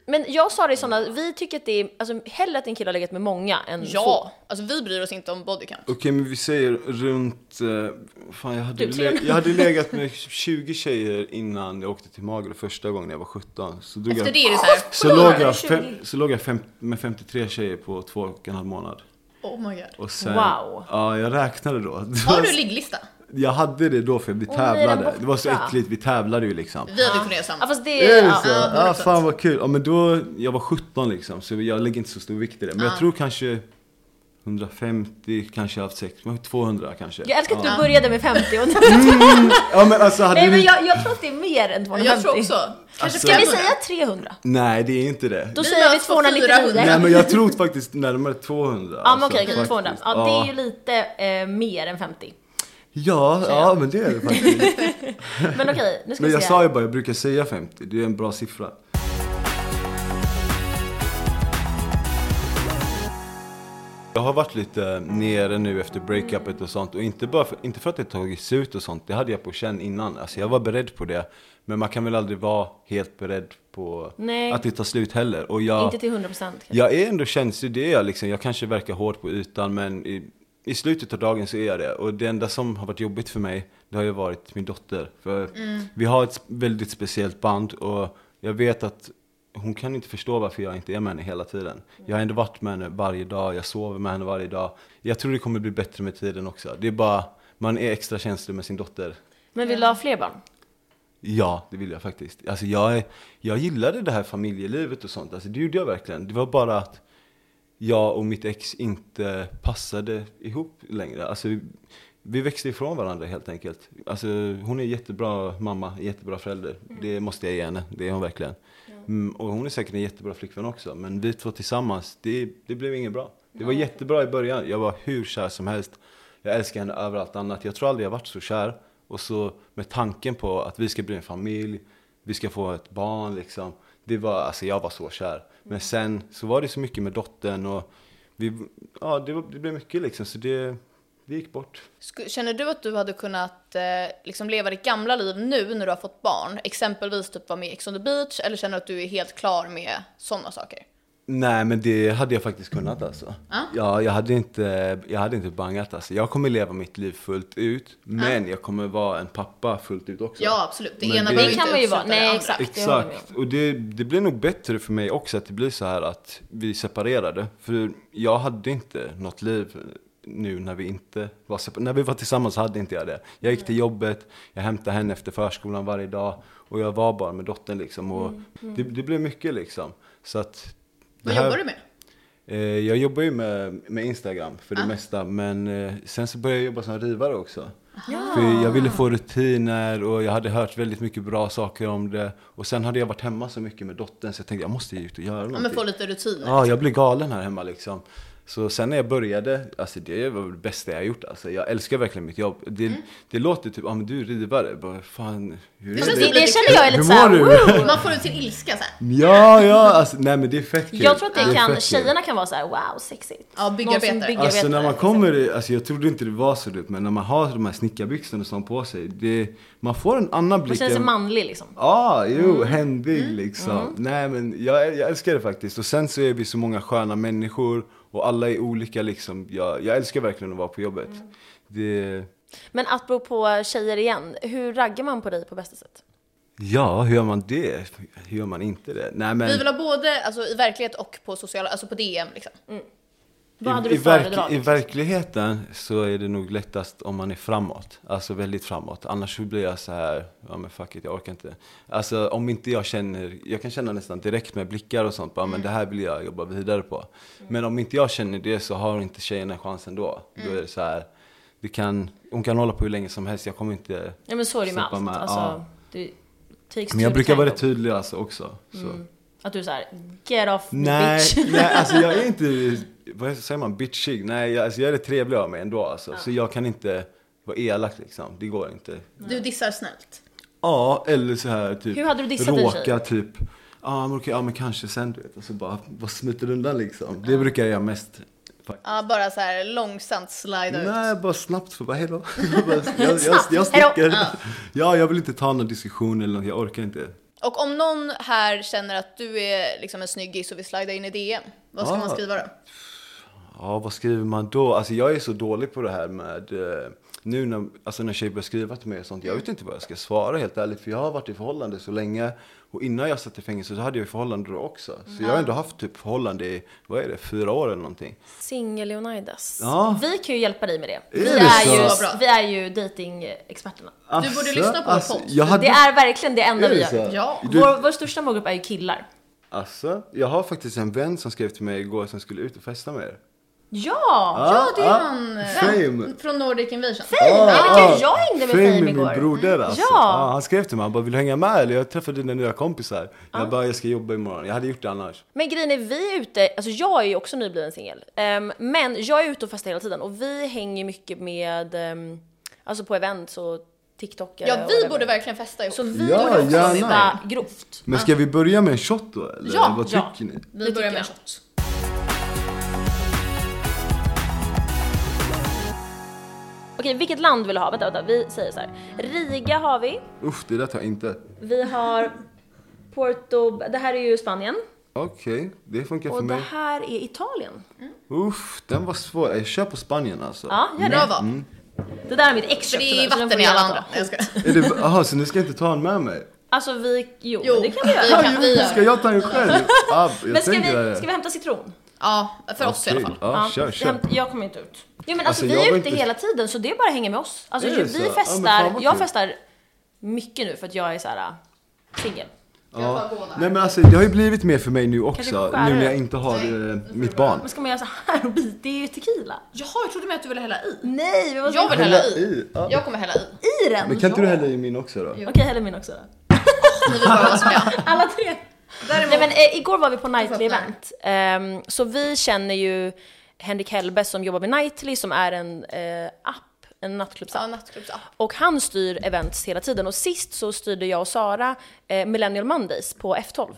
Speaker 2: Men jag sa det i sådana, vi tycker att det är, alltså hellre att en kille har legat med många än få.
Speaker 4: Ja, alltså vi bryr oss inte om bodycount.
Speaker 2: Oh
Speaker 3: Okej, men vi säger runt... eh, Fan, jag hade,
Speaker 4: Typ
Speaker 2: Du,
Speaker 3: le-
Speaker 2: tre.
Speaker 3: jag hade legat med 20 tjejer innan jag åkte till Magre första gången när jag var 17. Så drog
Speaker 4: Efter
Speaker 3: jag,
Speaker 4: det är det såhär,
Speaker 3: så låg jag,
Speaker 2: 20.
Speaker 3: fem, så låg jag fem, med 53 tjejer på två och en halv månad.
Speaker 4: oh my god.
Speaker 3: Och sen,
Speaker 2: Wow.
Speaker 3: Ja, jag räknade då.
Speaker 4: Har du ligglista?
Speaker 3: Jag hade det då för vi
Speaker 2: Och nu är den
Speaker 3: tävlade. Det var så
Speaker 2: borta.
Speaker 3: äckligt, vi tävlade ju liksom.
Speaker 4: Vi hade kunnat göra samma.
Speaker 2: Ja, fast det
Speaker 3: Är
Speaker 2: är...
Speaker 3: det
Speaker 2: Ja,
Speaker 3: så?
Speaker 2: ja.
Speaker 4: det är
Speaker 3: Ja,
Speaker 4: sant.
Speaker 3: fan vad kul. Ja, men då, jag var 17 liksom, så jag lägger inte så stor vikt i det. Men jag tror kanske 150, kanske jag haft sex, men 200 kanske.
Speaker 2: Jag älskar att
Speaker 4: Ja.
Speaker 2: du började med 50 och
Speaker 3: Mm. Ja, men alltså hade
Speaker 2: Nej
Speaker 3: vi...
Speaker 2: men jag, jag tror att det är mer än 250.
Speaker 4: Jag tror också. Kanske
Speaker 3: Alltså-
Speaker 2: Ska
Speaker 4: fem
Speaker 2: vi
Speaker 4: hundra.
Speaker 2: säga 300?
Speaker 3: Nej, det är inte det.
Speaker 2: Då
Speaker 4: Vi
Speaker 2: säger vi
Speaker 4: möts på 400.
Speaker 2: 299.
Speaker 3: Nej, men jag tror faktiskt närmare 200.
Speaker 2: Ja men
Speaker 3: alltså,
Speaker 2: okej, okej,
Speaker 3: faktiskt.
Speaker 2: 200. Ja, det är ju lite eh, mer än 50.
Speaker 3: Ja, ja, men det är det faktiskt.
Speaker 2: Men okej, nu ska
Speaker 3: Men
Speaker 2: vi
Speaker 3: jag
Speaker 2: se.
Speaker 3: sa ju bara, jag brukar säga 50. Det är en bra siffra. Jag har varit lite nere nu efter breakupet och sånt. Och inte, bara för, inte för att det tagits ut och sånt. Det hade jag på känn innan. Alltså jag var beredd på det. Men man kan väl aldrig vara helt beredd på
Speaker 2: Nej.
Speaker 3: att det tar slut heller. Och jag,
Speaker 2: Inte till 100% kanske.
Speaker 3: Jag är ändå känslig, det är jag liksom. Jag kanske verkar hård på ytan men i, i slutet av dagen så är jag det. Och det enda som har varit jobbigt för mig, det har ju varit min dotter. För vi har ett väldigt speciellt band och jag vet att hon kan inte förstå varför jag inte är med henne hela tiden. Jag har ändå varit med henne varje dag, jag sover med henne varje dag. Jag tror det kommer bli bättre med tiden också. Det är bara, man är extra känslig med sin dotter.
Speaker 2: Men vill du ha fler barn?
Speaker 3: Ja, det vill jag faktiskt. Alltså jag, är- jag gillade det här familjelivet och sånt. Alltså det gjorde jag verkligen. Det var bara att jag och mitt ex inte passade ihop längre. Alltså, vi växte ifrån varandra helt enkelt. Alltså, hon är jättebra mamma, jättebra förälder. Det måste jag ge henne, det är hon verkligen. Mm, och hon är säkert en jättebra flickvän också. Men vi två tillsammans, det, det blev inget bra. Det var jättebra i början, jag var hur kär som helst. Jag älskar henne över allt annat. Jag tror aldrig jag varit så kär. Och så med tanken på att vi ska bli en familj, vi ska få ett barn liksom. Det var, alltså jag var så kär. Men sen så var det så mycket med dottern och vi, ja det, var, det blev mycket liksom så det, det gick bort.
Speaker 4: Sku- Känner du att du hade kunnat eh, liksom leva ditt gamla liv nu när du har fått barn? Exempelvis typ vara med i Ex on the beach eller känner du att du är helt klar med sådana saker?
Speaker 3: Nej men det hade jag faktiskt kunnat alltså. Ja, jag hade inte, jag hade inte bangat alltså. Jag kommer leva mitt liv fullt ut, men jag kommer vara en pappa fullt ut också.
Speaker 4: Ja, absolut. Det
Speaker 3: Men
Speaker 4: ena
Speaker 3: det-
Speaker 4: behöver
Speaker 2: Det kan
Speaker 4: inte
Speaker 2: man ju vara. Nej,
Speaker 4: utesluta det andra.
Speaker 2: exakt. det håller jag med om.
Speaker 3: Exakt, och det, det blir nog bättre för mig också att det blir så här att vi separerade. För jag hade inte något liv nu när vi inte var separ- När vi var tillsammans hade inte jag det. Jag gick till
Speaker 4: Mm.
Speaker 3: jobbet, jag hämtade henne efter förskolan varje dag och jag var bara med dottern liksom. Och Det, det blev mycket liksom. Så att det
Speaker 4: Mm, Vad
Speaker 3: här-
Speaker 4: jobbar du med?
Speaker 3: Eh, jag jobbar ju med, med Instagram för
Speaker 2: Ah.
Speaker 3: det mesta, men eh, sen så började jag jobba som rivare också. För jag ville få rutiner och jag hade hört väldigt mycket bra saker om det. Och sen hade jag varit hemma så mycket med dottern så jag tänkte jag måste ju ut och göra
Speaker 4: Ja,
Speaker 3: någonting.
Speaker 4: men få lite rutiner.
Speaker 3: Ja, jag blev galen här hemma liksom. Så sen när jag började, alltså det var det bästa jag har gjort alltså. Jag älskar verkligen mitt jobb. Det,
Speaker 2: Mm.
Speaker 3: det låter typ, ja ah, men du är rivare, bara, fan hur är
Speaker 4: känns
Speaker 2: Det, det känner jag är lite
Speaker 3: Hur mår
Speaker 2: såhär,
Speaker 3: du?
Speaker 2: woo!
Speaker 4: Man får ut sin ilska så här.
Speaker 3: Ja, ja, alltså nej men det är fett kul.
Speaker 2: Jag tror att det
Speaker 3: är fett
Speaker 2: kan,
Speaker 3: kul.
Speaker 2: tjejerna kan vara såhär, wow, sexigt.
Speaker 4: Ja, byggarbetare.
Speaker 2: Någon som byggarbetare,
Speaker 3: Alltså när man
Speaker 2: liksom.
Speaker 3: kommer, i- alltså jag trodde inte det var så dyrt men när man har de här snickarbyxorna och sånt på sig, det, man får en annan blick.
Speaker 2: Man känner sig
Speaker 3: än-
Speaker 2: manlig liksom.
Speaker 3: Ja, jo,
Speaker 4: Mm.
Speaker 3: händig liksom. Nej men jag, jag älskar det faktiskt. Och sen så är vi så många sköna människor och alla är olika liksom. Jag, jag älskar verkligen att vara på jobbet.
Speaker 4: Mm.
Speaker 3: Det,
Speaker 2: Men att bero på tjejer igen, hur raggar man på dig på bästa sätt?
Speaker 3: ja, hur gör man det? Hur gör man inte det? Nej men.
Speaker 4: Vi vill ha både alltså, i verklighet och på sociala, alltså på DM liksom.
Speaker 3: Mm.
Speaker 2: Vad hade
Speaker 3: I, i,
Speaker 2: du
Speaker 3: verk,
Speaker 2: föredragit?
Speaker 3: I verkligheten så är det nog lättast om man är framåt. Alltså väldigt framåt. Annars så blir jag så här, ja men fuck it, jag orkar inte. Alltså om inte jag känner, jag kan känna nästan direkt med blickar och sånt, bara, men det här vill jag jobba vidare på. Men om inte jag känner det så har inte tjejerna chansen då.
Speaker 2: Mm.
Speaker 3: Då är det så här, vi kan, hon kan hålla på hur länge som helst, jag kommer inte...
Speaker 2: Ja men så är det ju med
Speaker 3: Släppa
Speaker 2: allt.
Speaker 3: med,
Speaker 2: Alltså, Typ
Speaker 3: ja.
Speaker 2: du, takes
Speaker 3: Men jag
Speaker 2: two
Speaker 3: brukar
Speaker 2: to
Speaker 3: vara
Speaker 2: tango.
Speaker 3: tydlig alltså också. Så.
Speaker 2: Mm. Att du är såhär, get off me
Speaker 3: Nej,
Speaker 2: bitch.
Speaker 3: nej, alltså jag är inte, vad säger man, bitchig? Nej, jag, alltså jag är rätt trevlig av mig ändå alltså. Så jag kan inte vara elak liksom, det går inte.
Speaker 4: Du dissar snällt.
Speaker 3: Ja, eller så här typ,
Speaker 2: Hur hade du dissat en tjej?
Speaker 3: råka typ, ja men okej, ja men kanske sen du vet. Och så bara, vad smiter undan liksom. Det brukar jag göra mest. faktiskt.
Speaker 4: Ja, bara så här långsamt slida ut.
Speaker 3: Nej, bara snabbt så bara hejdå. Jag, bara, jag, jag, jag
Speaker 2: Hejdå.
Speaker 3: sticker. Ja, jag vill inte ta någon diskussion eller något, jag orkar inte.
Speaker 4: Och om någon här känner att du är liksom en snyggis och vill slida in i DM, vad ska
Speaker 3: Ah.
Speaker 4: man skriva då?
Speaker 3: Ja, vad skriver man då? Alltså jag är så dålig på det här med... eh, Nu när, alltså när tjejer börjar skriva till mig och sånt, jag vet inte vad jag ska svara helt ärligt. För jag har varit i förhållande så länge. Och innan jag satt i fängelse så hade jag ju förhållande då också. Så
Speaker 4: Mm.
Speaker 3: jag har ändå haft typ förhållande i, vad är det, fyra år eller någonting.
Speaker 2: Singel Leonidas.
Speaker 3: Ja.
Speaker 2: Vi kan ju hjälpa dig med det. Vi
Speaker 3: det
Speaker 2: är,
Speaker 3: så?
Speaker 2: ju,
Speaker 4: Så bra.
Speaker 2: vi är ju datingexperterna.
Speaker 3: Asså,
Speaker 4: borde lyssna på
Speaker 3: asså,
Speaker 4: vår podd.
Speaker 3: Alltså, Jag hade,
Speaker 2: Det är verkligen det enda
Speaker 3: Är det
Speaker 2: vi
Speaker 3: så?
Speaker 2: gör.
Speaker 4: Ja.
Speaker 3: Du-
Speaker 2: Vår, vår största målgrupp är ju killar.
Speaker 3: Asså, jag har faktiskt en vän som skrev till mig igår som skulle ut och festa med er.
Speaker 2: Ja!
Speaker 4: Ja, det är
Speaker 3: ah,
Speaker 4: han eh,
Speaker 3: Fame.
Speaker 4: från Nordic Invasion.
Speaker 3: Ah,
Speaker 2: Fame! Ah, jag hängde med
Speaker 3: Fame är
Speaker 2: Fame
Speaker 3: min
Speaker 2: igår. Mm.
Speaker 3: broder alltså.
Speaker 2: Ja.
Speaker 3: Ah, han skrev till mig, han bara vill du hänga med eller? Jag träffade dina nya kompisar. Jag bara, jag ska jobba imorgon. Jag hade gjort det annars.
Speaker 2: Men grejen är, vi är ute, alltså jag är ju också nybliven singel. Ehm, men jag är ute och festar hela tiden och vi hänger mycket med, ehm, alltså på events och TikTokare.
Speaker 4: Ja,
Speaker 2: och
Speaker 4: vi
Speaker 2: whatever.
Speaker 4: borde verkligen festa ihop.
Speaker 2: Så vi
Speaker 3: Ja,
Speaker 2: borde också
Speaker 3: gärna.
Speaker 2: festa grovt.
Speaker 3: Men ska vi börja med en shot då eller?
Speaker 2: Ja,
Speaker 3: Vad
Speaker 2: ja.
Speaker 3: tycker ni?
Speaker 4: Vi börjar med
Speaker 2: tycker
Speaker 4: shots.
Speaker 2: Okej, vilket land vill du ha? Vänta, vänta, vi säger så här. Riga har vi.
Speaker 3: Uff, det där tar jag inte.
Speaker 2: Vi har Porto, det här är ju Spanien.
Speaker 3: Okej, det funkar för
Speaker 2: Och det
Speaker 3: mig.
Speaker 2: här är Italien.
Speaker 3: Uff, den var svår. Jag kör på Spanien alltså.
Speaker 2: Ja, gör
Speaker 4: Bra
Speaker 2: det.
Speaker 4: val.
Speaker 2: Det där är mitt extra
Speaker 4: För det är
Speaker 2: tyvärr, så den får
Speaker 4: vatten i
Speaker 2: du
Speaker 4: alla
Speaker 2: gärna
Speaker 4: andra.
Speaker 2: ta.
Speaker 4: Nej, jag skojar.
Speaker 3: Är det, aha, så nu ska jag inte ta en med mig?
Speaker 2: Alltså vi, jo,
Speaker 4: Jo,
Speaker 2: det kan vi
Speaker 4: vi
Speaker 2: göra.
Speaker 4: kan.
Speaker 3: Ah, jo, ska jag ta en själv? Ah, jag
Speaker 2: Men ska
Speaker 3: tänker
Speaker 2: vi,
Speaker 3: det.
Speaker 2: ska vi hämta citron?
Speaker 4: Ja, för oss i alla fall.
Speaker 3: Ja, kör,
Speaker 2: Jag,
Speaker 3: kör.
Speaker 2: hämt- jag kommer inte ut. Ja, men alltså,
Speaker 3: Alltså,
Speaker 2: vi
Speaker 3: jag
Speaker 2: är
Speaker 3: var
Speaker 2: ute
Speaker 3: inte-
Speaker 2: hela tiden så det är bara att hänga med oss. Alltså,
Speaker 3: Är
Speaker 2: ju,
Speaker 3: det
Speaker 2: vi
Speaker 3: så? Ja, men
Speaker 2: festar,
Speaker 3: fan vad
Speaker 2: jag
Speaker 3: kul.
Speaker 2: festar mycket nu för att jag är så här äh, singel.
Speaker 3: Ja.
Speaker 4: Jag får gå där.
Speaker 3: Nej men alltså det har ju blivit mer för mig nu också.
Speaker 2: Kanske skära
Speaker 3: Nu när
Speaker 2: det.
Speaker 3: jag inte har
Speaker 4: Nej,
Speaker 3: eh, mitt barn.
Speaker 2: Men ska man göra så här och bita? Det är ju tequila.
Speaker 4: Jaha, jag trodde med att du ville hälla i.
Speaker 2: Nej, vi måste
Speaker 4: Jag vill
Speaker 2: hälla
Speaker 4: hälla
Speaker 3: Hälla
Speaker 4: i.
Speaker 3: i, ja.
Speaker 4: Jag kommer hälla i.
Speaker 2: i den.
Speaker 3: Men kan inte du hälla i min också då?
Speaker 2: Okej, häll i min också då.
Speaker 4: Ni vill bara vara som jag.
Speaker 2: Alla tre.
Speaker 4: Däremot,
Speaker 2: Nej men eh, igår var vi på Nightly
Speaker 4: Jag fattar.
Speaker 2: event. Ehm, så vi känner ju Henrik Hellberg som jobbar med Nightly som är en eh, app, en
Speaker 4: ja,
Speaker 2: nattklubbsapp.
Speaker 4: nattklubbsapp.
Speaker 2: Och han styr events hela tiden och sist så styrde jag och Sara eh, Millennial Mondays på F12.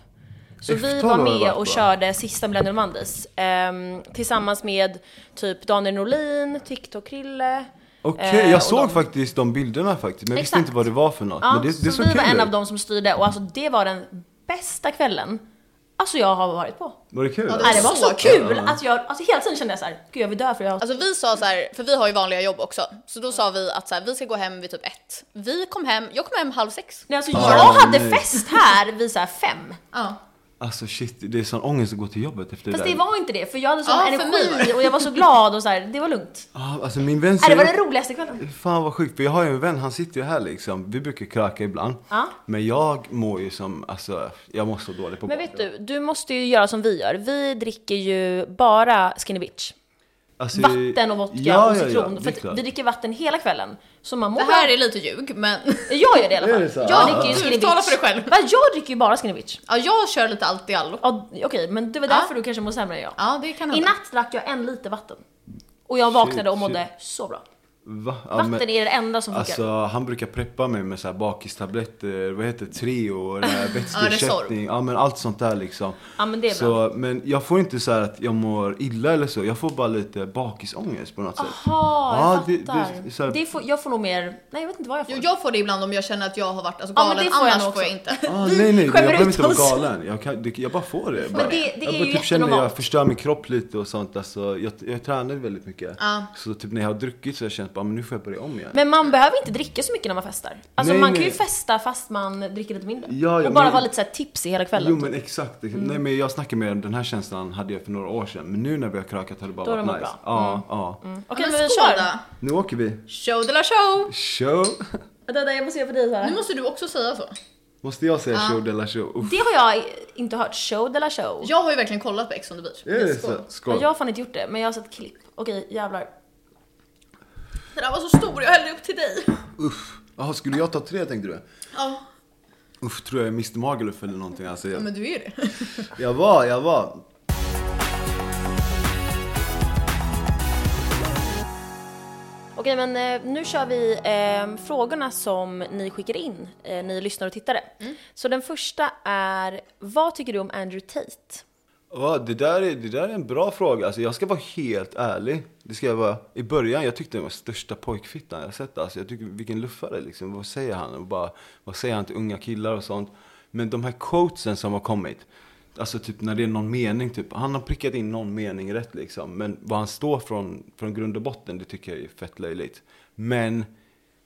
Speaker 2: Så vi
Speaker 3: F12
Speaker 2: var
Speaker 3: har det
Speaker 2: med
Speaker 3: varit,
Speaker 2: och
Speaker 3: va?
Speaker 2: körde sista Millennial Mondays ehm, tillsammans med typ Daniel Norlin, TikTok-Krille.
Speaker 3: Okej,
Speaker 2: Eh, och
Speaker 3: jag såg
Speaker 2: de-
Speaker 3: faktiskt de bilderna faktiskt. Men jag visste
Speaker 2: Exakt.
Speaker 3: inte vad det var för något.
Speaker 2: Ja,
Speaker 3: men det, det är så,
Speaker 2: så vi
Speaker 3: kul
Speaker 2: var en
Speaker 3: ut.
Speaker 2: av de som styrde och alltså det var den bästa kvällen alltså jag har varit på.
Speaker 3: Var det kul?
Speaker 4: Ja, det
Speaker 2: Nej, det var
Speaker 4: Så
Speaker 2: så kul
Speaker 3: kul.
Speaker 2: att jag, alltså hela tiden kände jag så här, gud jag vill dö för jag
Speaker 4: Alltså vi sa så här, för vi har ju vanliga jobb också, så då sa vi att så här, vi ska gå hem vid typ ett. Vi kom hem, jag kom hem halv sex.
Speaker 2: Nej, alltså,
Speaker 3: Ja,
Speaker 2: jag hade
Speaker 3: nej.
Speaker 2: fest här vid så här fem.
Speaker 4: Ja.
Speaker 3: Alltså shit, det är sån ångest att gå till jobbet efter
Speaker 2: Fast
Speaker 3: det
Speaker 2: det
Speaker 3: där.
Speaker 2: var inte det, för jag hade sån
Speaker 4: Ja, för mig var
Speaker 2: energi och jag var så glad och så här, det var lugnt.
Speaker 3: Ah, alltså min vän
Speaker 2: Nej, det var
Speaker 3: säger-
Speaker 2: den roligaste kvällen.
Speaker 3: Fan vad sjukt, för jag har ju en vän, han sitter ju här liksom. Vi brukar kröka ibland.
Speaker 2: Ja.
Speaker 3: Men jag mår ju som, alltså, jag mår så dåligt på
Speaker 2: Men
Speaker 3: bar.
Speaker 2: vet du, du måste ju göra som vi gör. Vi dricker ju bara Skinny Bitch.
Speaker 3: Alltså,
Speaker 2: Vatten och vodka
Speaker 3: ja,
Speaker 2: och
Speaker 3: ja,
Speaker 2: citron.
Speaker 3: Ja, det är
Speaker 2: för att
Speaker 3: klart.
Speaker 2: vi dricker vatten hela kvällen. Så man mår
Speaker 4: Det här är lite ljug, men
Speaker 2: bra. Jag gör det i alla
Speaker 3: Är
Speaker 2: fall.
Speaker 3: det så?
Speaker 2: Jag
Speaker 3: Ja,
Speaker 2: dricker ju
Speaker 4: du
Speaker 2: Skinny Bitch.
Speaker 4: talar för dig själv.
Speaker 2: Va, jag dricker ju bara Skinny Bitch.
Speaker 4: ja, jag kör lite allt i allo.
Speaker 2: Ja, Okej, men det var
Speaker 4: Ja.
Speaker 2: därför du kanske mår sämre än jag.
Speaker 4: Ja, det kan
Speaker 2: I
Speaker 4: hända.
Speaker 2: natt drack jag en liter vatten. Och jag vaknade och
Speaker 3: shit.
Speaker 2: mådde så bra.
Speaker 3: Va? Ja,
Speaker 2: Vatten
Speaker 3: men-
Speaker 2: är det enda som funkar.
Speaker 3: Alltså han brukar preppa mig med så här bakistabletter, vad heter det, Treo och det här vätskeersättning. ja men allt sånt där liksom.
Speaker 2: Ja, men det är
Speaker 3: så, Men jag får inte så här att jag mår illa eller så, jag får bara lite bakisångest på något sätt.
Speaker 2: Jaha,
Speaker 3: Ja,
Speaker 2: jag
Speaker 3: det-
Speaker 2: fattar. Det,
Speaker 3: det är så här-
Speaker 2: får, jag får nog mer, nej jag vet inte vad jag får.
Speaker 4: Jo, jag får det ibland om jag känner att jag har varit alltså,
Speaker 2: Ja, men
Speaker 4: galen,
Speaker 2: det får jag
Speaker 4: annars
Speaker 2: nog
Speaker 4: får jag
Speaker 2: också.
Speaker 4: inte.
Speaker 3: Ah, nej nej, jag
Speaker 2: skämmer
Speaker 3: behöver
Speaker 2: ut
Speaker 3: inte vara
Speaker 2: oss.
Speaker 3: galen. Jag, kan, det, jag bara får det. Bara.
Speaker 2: det- det är
Speaker 3: jag
Speaker 2: ju
Speaker 3: bara typ känner att
Speaker 2: jättenormalt.
Speaker 3: jag förstör min kropp lite och sånt. Alltså, jag, jag tränar väldigt mycket.
Speaker 4: Ja.
Speaker 3: Så typ när jag har druckit så har jag känt bara, men nu får jag börja om igen.
Speaker 2: Men man behöver inte dricka så mycket när man festar. Alltså
Speaker 3: Nej,
Speaker 2: man kan
Speaker 3: nej.
Speaker 2: ju festa fast man dricker lite mindre.
Speaker 3: Ja, ja,
Speaker 2: och bara
Speaker 3: men-
Speaker 2: vara lite så här tipsig hela kvällen. typ.
Speaker 3: Jo men exakt.
Speaker 2: Mm.
Speaker 3: Nej men jag snackar med den här känslan hade jag för några år sedan. Men nu när vi har krökat har det bara
Speaker 2: Då har
Speaker 3: varit
Speaker 2: det
Speaker 3: nice.
Speaker 2: varit bra. Mm.
Speaker 3: Ja, ja.
Speaker 2: Okej
Speaker 4: Ja, men
Speaker 2: men vi
Speaker 4: skål
Speaker 2: kör.
Speaker 4: då.
Speaker 3: Nu åker vi.
Speaker 4: Show de la show!
Speaker 3: Show!
Speaker 2: Vänta, vänta, jag måste göra på dig Sara.
Speaker 4: Nu måste du också säga så.
Speaker 3: Måste jag säga show de la show? Uff,
Speaker 2: Det har jag inte hört, show de la show.
Speaker 4: Jag har ju verkligen kollat på Ex on the beach.
Speaker 3: är det så?
Speaker 4: Skål.
Speaker 2: Ja,
Speaker 3: Skål.
Speaker 2: Jag har fan inte gjort det, men jag har sett klipp. Okej, jävlar.
Speaker 4: Den där var så stor, jag hällde upp till dig.
Speaker 3: Uff. Jaha, skulle jag ta tre tänkte du?
Speaker 4: Ja,
Speaker 3: Uff, tror jag är Mr Magaluf eller någonting alltså. Jag,
Speaker 4: men du är ju det.
Speaker 3: jag var, jag var.
Speaker 2: Okej men eh, nu kör vi eh, frågorna som ni skickar in, eh, ni lyssnare och tittare.
Speaker 4: Mm.
Speaker 2: Så den första är, vad tycker du om Andrew Tate?
Speaker 3: Ja, det, där är, det där är en bra fråga. Alltså, jag ska vara helt ärlig. Det ska jag vara. I början jag tyckte det var största pojkfittan jag sett. Alltså, jag tycker, vilken luffare liksom. Vad säger han? Och bara, vad säger han till unga killar och sånt? Men de här quotesen som har kommit, alltså typ när det är någon mening, typ, han har prickat in någon mening rätt liksom. Men vad han står från, från grund och botten, det tycker jag är fett löjligt. Men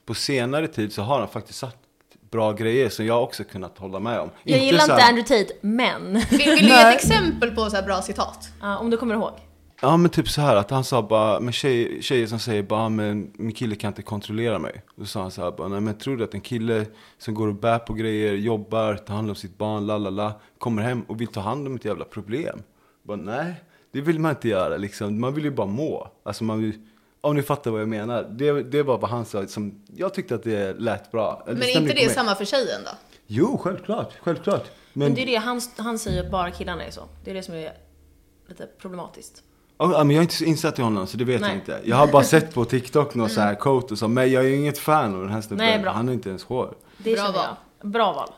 Speaker 3: på senare tid så har han faktiskt sagt bra grejer som jag också kunnat hålla med om.
Speaker 2: Jag gillar
Speaker 3: så
Speaker 2: inte
Speaker 3: här-
Speaker 2: Andrew Tate, men.
Speaker 4: Vill, vill du ge ett exempel på så här bra citat?
Speaker 2: Ja, om du kommer ihåg.
Speaker 3: Ja men typ så här att han sa bara, men tjej, tjejer som säger bara, "Ah, men min kille kan inte kontrollera mig. Då sa han så här bara, nej men tror du att en kille som går och bär på grejer, jobbar, tar hand om sitt barn, la la la, kommer hem och vill ta hand om ett jävla problem? Bara nej, det vill man inte göra liksom, man vill ju bara må. Alltså man vill, om ni fattar vad jag menar. Det, det var vad han sa som, jag tyckte att det lät bra.
Speaker 4: Men är
Speaker 3: stämde
Speaker 4: inte
Speaker 3: på
Speaker 4: det
Speaker 3: mig.
Speaker 4: samma för tjejen då?
Speaker 3: Jo, självklart, självklart.
Speaker 2: Men det är det, han, han säger att bara killarna är så. Det är det som är lite problematiskt.
Speaker 3: Ja, men jag är inte så insatt i honom så det vet
Speaker 2: Nej.
Speaker 3: jag inte. Jag har bara sett på TikTok någon så
Speaker 4: Mm.
Speaker 3: här quote och så, men jag är ju inget fan av den här
Speaker 2: Nej,
Speaker 3: snubben.
Speaker 2: bra.
Speaker 3: Han har inte ens hår.
Speaker 2: Det
Speaker 4: Bra
Speaker 2: känner
Speaker 4: val.
Speaker 2: jag. Bra val.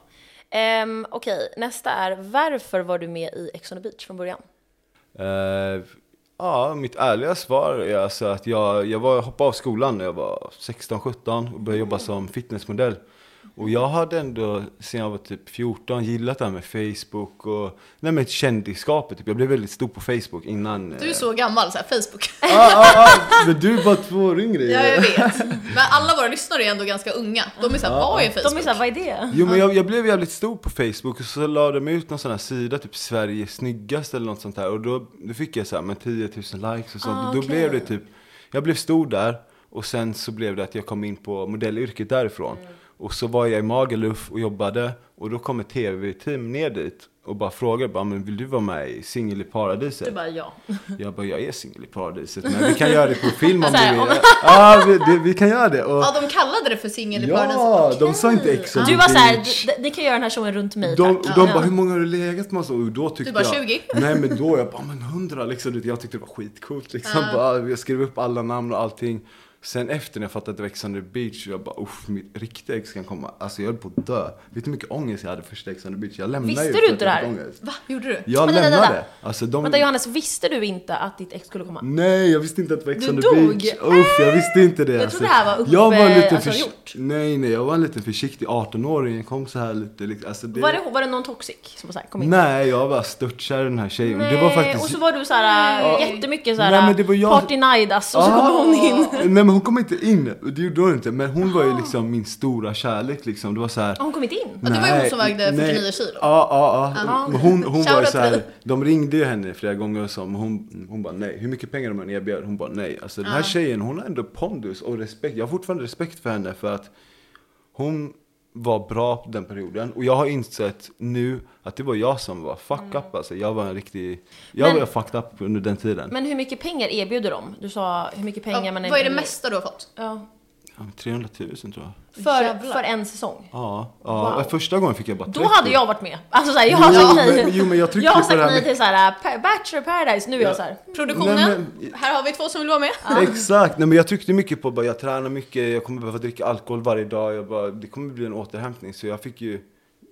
Speaker 2: Ehm, Okej, nästa är varför var du med i Ex on the beach från början?
Speaker 3: Eh, ja, mitt ärliga svar är alltså att jag, jag var, hoppade av skolan när jag var 16-17 och började jobba som fitnessmodell. Och jag hade ändå, sen jag var typ 14, gillat det här med Facebook och nej, men kändisskapet. Typ. Jag blev väldigt stor på Facebook innan.
Speaker 4: Du
Speaker 3: eh,
Speaker 4: är så gammal, så här, Facebook.
Speaker 3: ah, ah, ah, men du är bara två år yngre ju.
Speaker 4: Ja, jag vet. Men alla våra lyssnare är ändå ganska unga. De är såhär, vad är Facebook?
Speaker 2: De är såhär, vad är det?
Speaker 3: Jo men jag, jag blev jävligt stor på Facebook och så la de ut någon sån här sida, typ Sveriges snyggaste eller något sånt här. Och då, då fick jag så här med 10 000 likes och sånt.
Speaker 2: Ah,
Speaker 3: och då
Speaker 2: okej.
Speaker 3: blev det typ, jag blev stor där och sen så blev det att jag kom in på modellyrket därifrån.
Speaker 2: Mm.
Speaker 3: Och så var jag i Magaluf och jobbade och då kom ett tv-team ner dit och bara frågade bara, men vill du vara med i Singel i
Speaker 2: Du
Speaker 3: paradiset?
Speaker 2: bara, ja.
Speaker 3: Jag bara, jag är singel i paradiset men vi kan göra det på film om
Speaker 2: Så här,
Speaker 3: du
Speaker 2: om-
Speaker 3: vill. Ja, vi, det, vi kan göra det. Och,
Speaker 4: Ja, de kallade det för singel i paradiset.
Speaker 3: ja, de sa inte ex on the
Speaker 2: Du var såhär,
Speaker 3: beach.
Speaker 2: "D- ni kan göra den här showen runt mig
Speaker 3: Ah, De,
Speaker 2: tack.
Speaker 3: de
Speaker 2: Ja.
Speaker 3: bara, hur många har du legat med? Och så, Och då tyckte
Speaker 4: Du bara,
Speaker 3: jag,
Speaker 4: 20?
Speaker 3: Nej men då, jag bara, men 100 liksom. Du vet, Jag tyckte det var skitcoolt liksom. Bara, jag skrev upp alla namn och allting. Sen efter när jag fattade att det var Ex on the beach, jag bara, uff, mitt riktiga ex kan komma. Alltså jag höll på att dö. Vet du hur mycket ångest jag hade första Ex on the beach? Jag lämnade
Speaker 2: Visste
Speaker 3: ju
Speaker 2: du
Speaker 3: för att
Speaker 2: inte
Speaker 3: jag
Speaker 2: det
Speaker 3: fick
Speaker 2: här?
Speaker 3: ångest.
Speaker 4: Va? Gjorde du?
Speaker 3: Jag
Speaker 2: Vänta, vänta,
Speaker 3: lämnade.
Speaker 2: vänta.
Speaker 3: Alltså de...
Speaker 2: Vänta Johannes, visste du inte att ditt ex skulle komma?
Speaker 3: Nej, jag visste inte att det var Ex
Speaker 2: Du
Speaker 3: on the
Speaker 2: dog.
Speaker 3: beach. Uff, jag visste inte det. Alltså,
Speaker 2: Jag trodde det här var uppe-
Speaker 3: jag var en liten
Speaker 2: alltså,
Speaker 3: förs-
Speaker 2: gjort.
Speaker 3: Nej, nej, jag var en liten försiktig 18-åring. Jag kom så här lite liksom. Alltså, det...
Speaker 2: Var det, var det någon toxic som så här kom in?
Speaker 3: Nej, jag var störtkär i den här tjejen. det var faktiskt...
Speaker 2: Och så var du såhär jättemycket
Speaker 3: Nej,
Speaker 2: såhär
Speaker 3: men det var jag-
Speaker 2: party night ass, och så
Speaker 3: Ah!
Speaker 2: kommer hon in.
Speaker 3: Nej men hon kom inte in, det gjorde hon inte. Men hon var ju liksom min stora kärlek liksom. Det var så här.
Speaker 2: Har hon kommit in?
Speaker 4: Ah. det var ju hon
Speaker 3: nej,
Speaker 4: som vägde
Speaker 3: nej.
Speaker 4: 49 kilo.
Speaker 3: Ja, ja, ja.
Speaker 2: Ah.
Speaker 3: Men Hon, hon var ju
Speaker 4: Shoutout
Speaker 3: så här,
Speaker 4: till-
Speaker 3: de ringde ju henne flera gånger och så, men hon, hon bara nej. Hur mycket pengar de än erbjöd, hon bara nej. Alltså
Speaker 4: Ah.
Speaker 3: den här tjejen, hon har ändå pondus och respekt. Jag har fortfarande respekt för henne för att hon var bra på den perioden. Och jag har insett nu att det var jag som var
Speaker 4: Mm.
Speaker 3: fuck up alltså. Jag var en riktig, jag
Speaker 2: Men-
Speaker 3: var fucked up under den tiden.
Speaker 2: Men hur mycket pengar erbjuder de? Du sa hur mycket pengar
Speaker 4: Ja,
Speaker 2: man
Speaker 4: vad är det mesta du har fått?
Speaker 2: Ja.
Speaker 3: Ja, men 300 000 tror jag.
Speaker 2: För,
Speaker 4: Jävlar.
Speaker 2: för en säsong?
Speaker 3: Ja, ja.
Speaker 2: Wow.
Speaker 3: första gången fick jag bara 30.
Speaker 2: Då hade jag varit med. Alltså såhär, jag har
Speaker 3: Jo,
Speaker 2: sagt
Speaker 3: men-
Speaker 2: nej.
Speaker 3: jo, men jag tryckte
Speaker 2: jag har
Speaker 3: på det
Speaker 2: sagt
Speaker 3: här
Speaker 2: nej
Speaker 3: med-
Speaker 2: till såhär, pa- Bachelor Paradise, nu är jag "Mm, såhär.
Speaker 4: Produktionen?
Speaker 3: Nej, men-
Speaker 4: Här har vi två som vill vara med.
Speaker 3: Exakt, nej men jag tryckte mycket på bara jag tränar mycket, jag kommer behöva dricka alkohol varje dag, jag bara, det kommer bli en återhämtning så jag fick ju,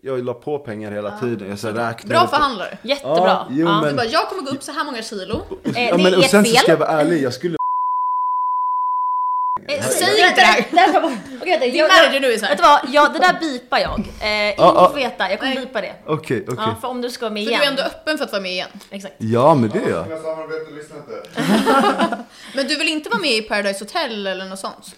Speaker 3: jag la på pengar hela tiden, jag så här räknade.
Speaker 4: Bra
Speaker 3: på-
Speaker 4: förhandlare.
Speaker 2: Jättebra.
Speaker 3: Ja, jo,
Speaker 2: Ja.
Speaker 3: men-
Speaker 4: Du bara, jag kommer gå upp så här många kilo.
Speaker 2: Eh,
Speaker 3: Ja,
Speaker 2: det
Speaker 3: men,
Speaker 2: är
Speaker 3: och
Speaker 2: ert
Speaker 3: sen så
Speaker 2: fel.
Speaker 3: ska jag vara ärlig, jag skulle
Speaker 2: Eh,
Speaker 4: Säg inte det här.
Speaker 2: Det här var- Okej, vänta,
Speaker 4: Din
Speaker 2: jag-
Speaker 4: manager nu är såhär.
Speaker 2: Vet du vad, ja, det där bipar jag. Eh, ingen
Speaker 3: Ja,
Speaker 2: får veta, jag kommer bipa det.
Speaker 3: Okej, okej.
Speaker 2: Ja, för om du ska vara med
Speaker 4: För
Speaker 2: igen.
Speaker 4: du är ändå öppen för att vara med igen.
Speaker 2: Exakt.
Speaker 3: Ja men det är jag.
Speaker 5: Mina samarbeten lyssnar inte.
Speaker 4: Men du vill inte vara med i Paradise Hotel eller något sånt?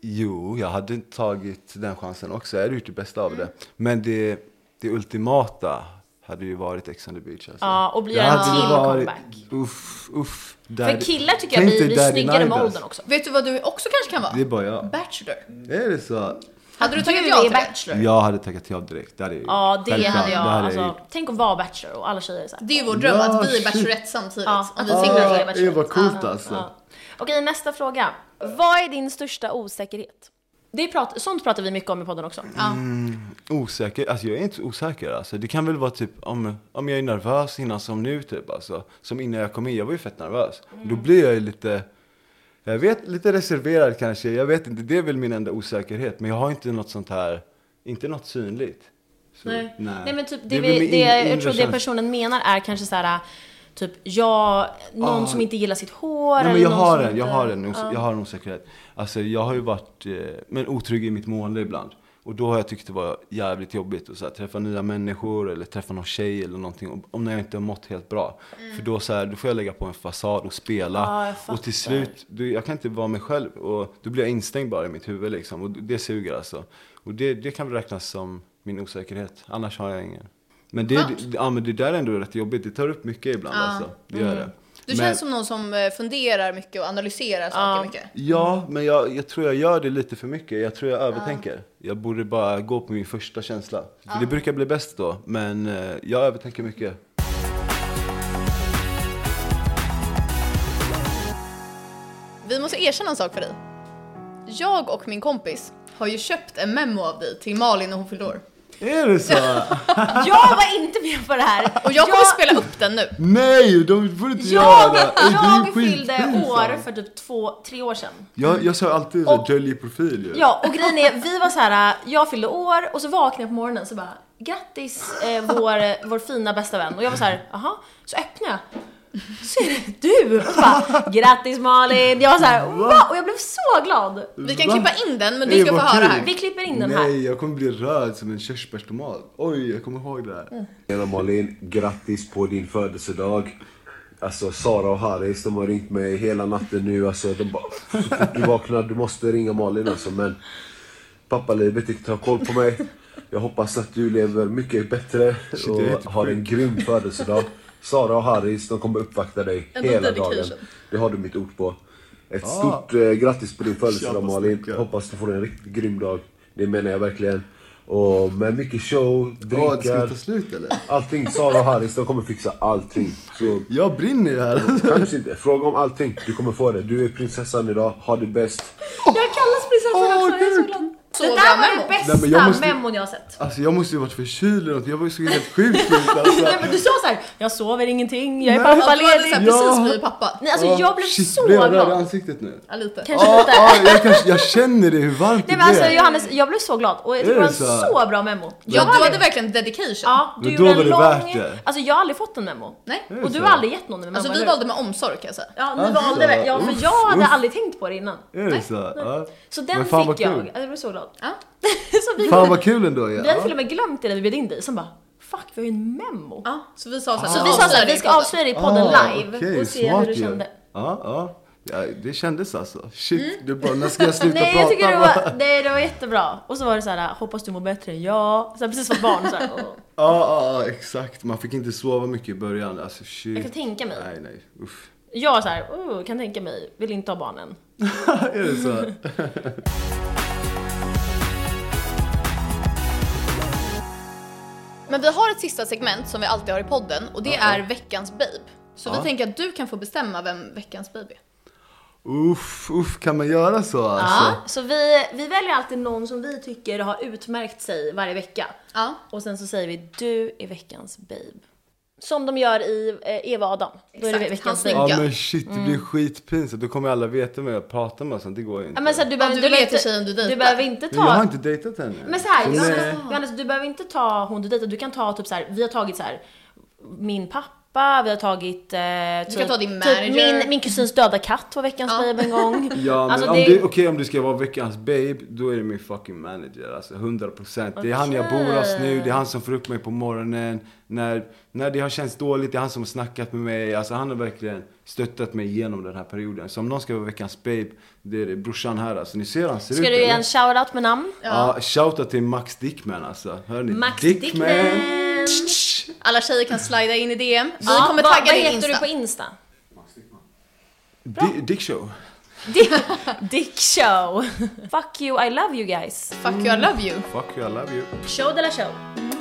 Speaker 3: Jo, jag hade tagit den chansen också, jag hade gjort det bästa av det.
Speaker 2: Mm.
Speaker 3: Men det, det ultimata hade ju varit Ex on the beach alltså.
Speaker 2: Ja, och bli
Speaker 3: Det
Speaker 2: en
Speaker 3: hade
Speaker 2: till
Speaker 3: varit-
Speaker 2: comeback.
Speaker 3: Uff, uff.
Speaker 2: För killar tycker jag blir, blir snyggare med åldern också.
Speaker 4: Vet du vad du också kanske kan
Speaker 3: Det är
Speaker 4: vara?
Speaker 3: bara jag.
Speaker 4: Bachelor.
Speaker 3: Är det så?
Speaker 4: Hade du tagit
Speaker 2: Du
Speaker 4: ja
Speaker 2: är
Speaker 4: till det?
Speaker 2: bachelor.
Speaker 3: Jag hade tackat ja direkt. Det hade jag
Speaker 2: Ja, det
Speaker 3: Självklart.
Speaker 2: hade jag.
Speaker 3: Det hade
Speaker 2: alltså,
Speaker 3: gjort.
Speaker 2: Tänk att vara bachelor och alla tjejer är såhär.
Speaker 4: Det är ju vår dröm, att vi är
Speaker 3: shit.
Speaker 4: Bachelorette samtidigt.
Speaker 2: Ja,
Speaker 4: Om vi
Speaker 2: att
Speaker 4: är
Speaker 2: vi
Speaker 4: singlar.
Speaker 2: är
Speaker 3: Ah,
Speaker 2: bachelor.
Speaker 3: det var coolt
Speaker 2: Ja,
Speaker 3: alltså.
Speaker 2: ja. Okej, nästa fråga. Vad är din största osäkerhet? Det prat, sånt pratar vi mycket om i podden också.
Speaker 3: Mm. Osäker? Alltså jag är inte så osäker alltså. Det kan väl vara typ om, om jag är nervös innan som nu typ alltså. Som innan jag kom in, jag var ju fett nervös.
Speaker 2: Mm.
Speaker 3: Då blir jag ju lite, jag vet, lite reserverad kanske. Jag vet inte, det är väl min enda osäkerhet. Men jag har inte något sånt här, inte något synligt. Så,
Speaker 2: Nej. Nej men typ det,
Speaker 3: är väl
Speaker 2: vi,
Speaker 3: min
Speaker 2: det
Speaker 3: in-
Speaker 2: jag
Speaker 3: inre
Speaker 2: tror det
Speaker 3: känsla.
Speaker 2: personen menar är kanske så här typ jag, någon
Speaker 3: Ah.
Speaker 2: som inte gillar sitt hår
Speaker 3: Nej,
Speaker 2: eller
Speaker 3: men jag
Speaker 2: någon
Speaker 3: har
Speaker 2: som
Speaker 3: en, jag
Speaker 2: inte-
Speaker 3: har en, os- jag har en osäkerhet. Alltså jag har ju varit, eh, men otrygg i mitt mående ibland. Och då har jag tyckt det var jävligt jobbigt att så här, träffa nya människor eller träffa någon tjej eller någonting om- om när jag inte har mått helt bra. För då, så här, då får jag lägga på en fasad och spela.
Speaker 2: Mm. Ja, jag
Speaker 3: och till
Speaker 2: fattar.
Speaker 3: slut, då, jag kan inte vara mig själv. Och då blir jag instängd bara i mitt huvud liksom. Och det suger alltså. Och det, det kan väl räknas som min osäkerhet. Annars har jag ingen. Men det,
Speaker 4: Skönt.
Speaker 3: det, ja, men det där är ändå rätt jobbigt. Det tar upp mycket ibland alltså. Det
Speaker 2: Mm.
Speaker 3: gör det.
Speaker 4: Du
Speaker 3: Men-
Speaker 4: känns som någon som eh, funderar mycket och analyserar saker mycket.
Speaker 3: Ja, men jag, jag tror jag gör det lite för mycket. Jag tror jag övertänker. Jag borde bara gå på min första känsla. För Det brukar bli bäst då, men eh, jag övertänker mycket.
Speaker 4: Vi måste erkänna en sak för dig. Jag och min kompis har ju köpt en memo av dig till Malin när hon fyllde år.
Speaker 3: Är det så?
Speaker 2: Ah, Jag var inte med på det här!
Speaker 4: Och jag kommer spela upp den nu.
Speaker 3: Nej, de får inte
Speaker 2: jag,
Speaker 3: göra! Det är
Speaker 2: jag fyllde
Speaker 3: skitpinsamt.
Speaker 2: år för typ två, tre år sedan.
Speaker 3: Jag, jag sa alltid
Speaker 2: Och-
Speaker 3: så, dölj profil ju.
Speaker 2: Ja, och grejen är, vi var så här, jag fyllde år och så vaknade jag på morgonen så bara Grattis eh, vår, vår fina bästa vän. Och jag var så här, jaha? Så öppnade jag. Så är det du! Och så bara, grattis Malin! Jag var så här, wow! Och jag blev så glad!
Speaker 4: Vi kan
Speaker 3: Va?
Speaker 4: klippa in den, men
Speaker 3: Ey,
Speaker 4: du ska få
Speaker 3: vad
Speaker 4: höra
Speaker 3: kul.
Speaker 4: här.
Speaker 2: Vi klipper in den här.
Speaker 3: Nej, jag kommer bli röd som en körsbärstomat. Oj, jag kommer ihåg det
Speaker 2: Mm.
Speaker 3: här.
Speaker 5: Tjena Malin, grattis på din födelsedag. Alltså Sara och Haris, de har ringt mig hela natten nu. Alltså, de bara, så fort du vaknar, du måste ringa Malin alltså. Men pappalivet inte har koll på mig. Jag hoppas att du lever mycket bättre
Speaker 3: du är helt
Speaker 5: och har en grym födelsedag. Sara och Haris, de kommer uppvakta dig
Speaker 4: Ändå
Speaker 5: hela
Speaker 4: dedication.
Speaker 5: dagen. Det har du mitt ord på.
Speaker 3: Ah.
Speaker 5: Ett stort eh, grattis på din födelsedag
Speaker 3: Jävla
Speaker 5: Malin.
Speaker 3: snygga.
Speaker 5: Hoppas du får en riktigt grym dag. Det menar jag verkligen. Och med mycket show, drinkar.
Speaker 3: Åh, Ah, det ska ta slut eller?
Speaker 5: Allting, Sara och Harris, de kommer fixa allting. Så
Speaker 3: Jag brinner ju här.
Speaker 5: kanske inte. Fråga om allting, du kommer få det. Du är prinsessan idag, ha det bäst.
Speaker 2: Jag kallas prinsessan också, jag är så glad.
Speaker 4: Så
Speaker 2: Det
Speaker 4: bra
Speaker 2: där var
Speaker 4: memo.
Speaker 2: den bästa
Speaker 3: Nej, men jag måste-
Speaker 2: memon jag har sett.
Speaker 3: Alltså jag måste ju varit förkyld eller något. Jag var ju så helt sjuk ut alltså.
Speaker 2: Nej, men du sa så här, jag sover ingenting, jag är
Speaker 4: Ja, du hade
Speaker 2: pappaledig.
Speaker 4: såhär
Speaker 3: Ja.
Speaker 4: precis blivit pappa.
Speaker 2: Nej, alltså
Speaker 3: Åh,
Speaker 2: jag blev
Speaker 3: shit,
Speaker 2: så
Speaker 3: blev jag röd i
Speaker 2: glad.
Speaker 3: ansiktet nu?
Speaker 4: Ja, lite.
Speaker 2: Kanske lite.
Speaker 3: Ja, jag, kanske, jag känner det, hur varmt
Speaker 2: Nej
Speaker 3: det
Speaker 2: men alltså
Speaker 3: blev.
Speaker 2: Johannes, jag blev så glad och jag tycker det var en
Speaker 3: det så?
Speaker 2: så bra memo.
Speaker 4: Ja,
Speaker 2: Jag har
Speaker 4: du hade
Speaker 2: aldrig-
Speaker 4: verkligen dedication.
Speaker 2: Ja, du
Speaker 3: Men
Speaker 2: gjorde
Speaker 3: då
Speaker 2: en
Speaker 3: var det
Speaker 2: lång...
Speaker 3: värt det.
Speaker 2: Alltså jag har aldrig fått en memo.
Speaker 4: Nej.
Speaker 2: Och
Speaker 3: så?
Speaker 2: du har aldrig gett någon en memo,
Speaker 4: Alltså vi
Speaker 2: eller
Speaker 4: valde med omsorg kan jag säga.
Speaker 2: hur? Ja, ni
Speaker 3: Alltså,
Speaker 2: valde väl. Ja, men
Speaker 3: uff,
Speaker 2: jag hade
Speaker 3: uff.
Speaker 2: aldrig tänkt på det innan.
Speaker 3: Är det så? Ja.
Speaker 2: Så den
Speaker 3: Men fan vad
Speaker 2: fick jag.
Speaker 3: kul.
Speaker 2: Alltså, jag blev så glad.
Speaker 4: Ja.
Speaker 2: så vi,
Speaker 3: Fan vad kul ändå ja.
Speaker 2: vi hade till och med glömt det när vi bjöd in dig. Sen bara, fuck vi har ju en memo.
Speaker 4: Ja, så vi sa såhär,
Speaker 2: Så Alltså, vi sa såhär, vi ska avslöja det i podden
Speaker 3: Ah,
Speaker 2: live
Speaker 3: okej,
Speaker 2: och se
Speaker 3: smart
Speaker 2: hur du
Speaker 3: ju.
Speaker 2: kände. Mm.
Speaker 3: Ja, ja. ja. Det kändes alltså. Shit, du bara, när ska jag sluta
Speaker 2: Nej jag
Speaker 3: prata?
Speaker 2: tycker det
Speaker 3: bara?
Speaker 2: var, nej, det var jättebra. Och så var det så här, hoppas du mår bättre än jag. Så här, precis som ett barn. Så här, och,
Speaker 3: Ja, ja, ja, exakt. Man fick inte sova mycket i början. Alltså shit.
Speaker 2: jag kan tänka mig.
Speaker 3: Nej, nej. Uff.
Speaker 2: Jag så här, oh, kan tänka mig, vill inte ha barnen.
Speaker 3: Är det så?
Speaker 4: Men vi har ett sista segment som vi alltid har i podden och det är veckans babe. Så vi tänker att du kan få bestämma vem veckans babe är.
Speaker 3: Uff, uff, kan man göra så alltså?
Speaker 2: Ja, så vi, vi väljer alltid någon som vi tycker har utmärkt sig varje vecka.
Speaker 4: Ja.
Speaker 2: Och sen så säger vi du är veckans babe. Som de gör i eh, Eva och Adam. Då är det
Speaker 4: Exakt,
Speaker 2: veckans babe.
Speaker 4: hans snygga.
Speaker 3: Ja
Speaker 4: Ja.
Speaker 3: men shit, det blir skitpinsamt. Då kommer alla veta vem jag pratar med och sånt. Det går ju inte.
Speaker 2: Mm. Ja, men så här, du, behöver,
Speaker 4: du
Speaker 2: du,
Speaker 4: vill
Speaker 2: behöver
Speaker 4: leta tjejen du
Speaker 2: inte,
Speaker 4: dejtar.
Speaker 2: du behöver inte
Speaker 3: Men Jag har
Speaker 2: ta...
Speaker 3: inte dejtat henne.
Speaker 2: Men så här,
Speaker 3: Så nej.
Speaker 2: Johannes, Johannes, du behöver inte ta hon du dejtar. Du kan ta typ så här, vi har tagit så här, min pappa, vi har tagit eh, typ,
Speaker 4: kan ta din
Speaker 2: typ
Speaker 4: manager.
Speaker 2: min, min kusins döda katt var veckans babe en gång.
Speaker 3: Ja, men
Speaker 2: Alltså,
Speaker 3: om
Speaker 2: det-
Speaker 3: du, okej om du ska vara veckans babe, då är det min fucking manager. Alltså 100%. procent. Det är han jag bor hos nu, det är han som får upp mig på morgonen. När, när det har känts dåligt, det är han som har snackat med mig. Alltså han har verkligen stöttat mig igenom den här perioden. Så om någon ska vara veckans babe, det är det. brorsan här alltså. Ni ser hur han ser
Speaker 2: Ska
Speaker 3: ut
Speaker 2: du ge
Speaker 3: eller?
Speaker 2: en shoutout med namn?
Speaker 3: Ja, shoutout till Max Dickman alltså. Hör ni?
Speaker 2: Max
Speaker 3: Dickman.
Speaker 2: Dickman.
Speaker 4: Alla tjejer kan slida in i DM. Vi
Speaker 2: Ja,
Speaker 4: kommer
Speaker 2: vad-
Speaker 4: tagga
Speaker 2: vad
Speaker 4: din
Speaker 2: heter
Speaker 4: Insta.
Speaker 2: du på Insta?
Speaker 3: Di- Dick show.
Speaker 2: Dick, dick show. Fuck you, I love you guys.
Speaker 4: Fuck you, I love you.
Speaker 3: Fuck you, I love you.
Speaker 2: Show de la show.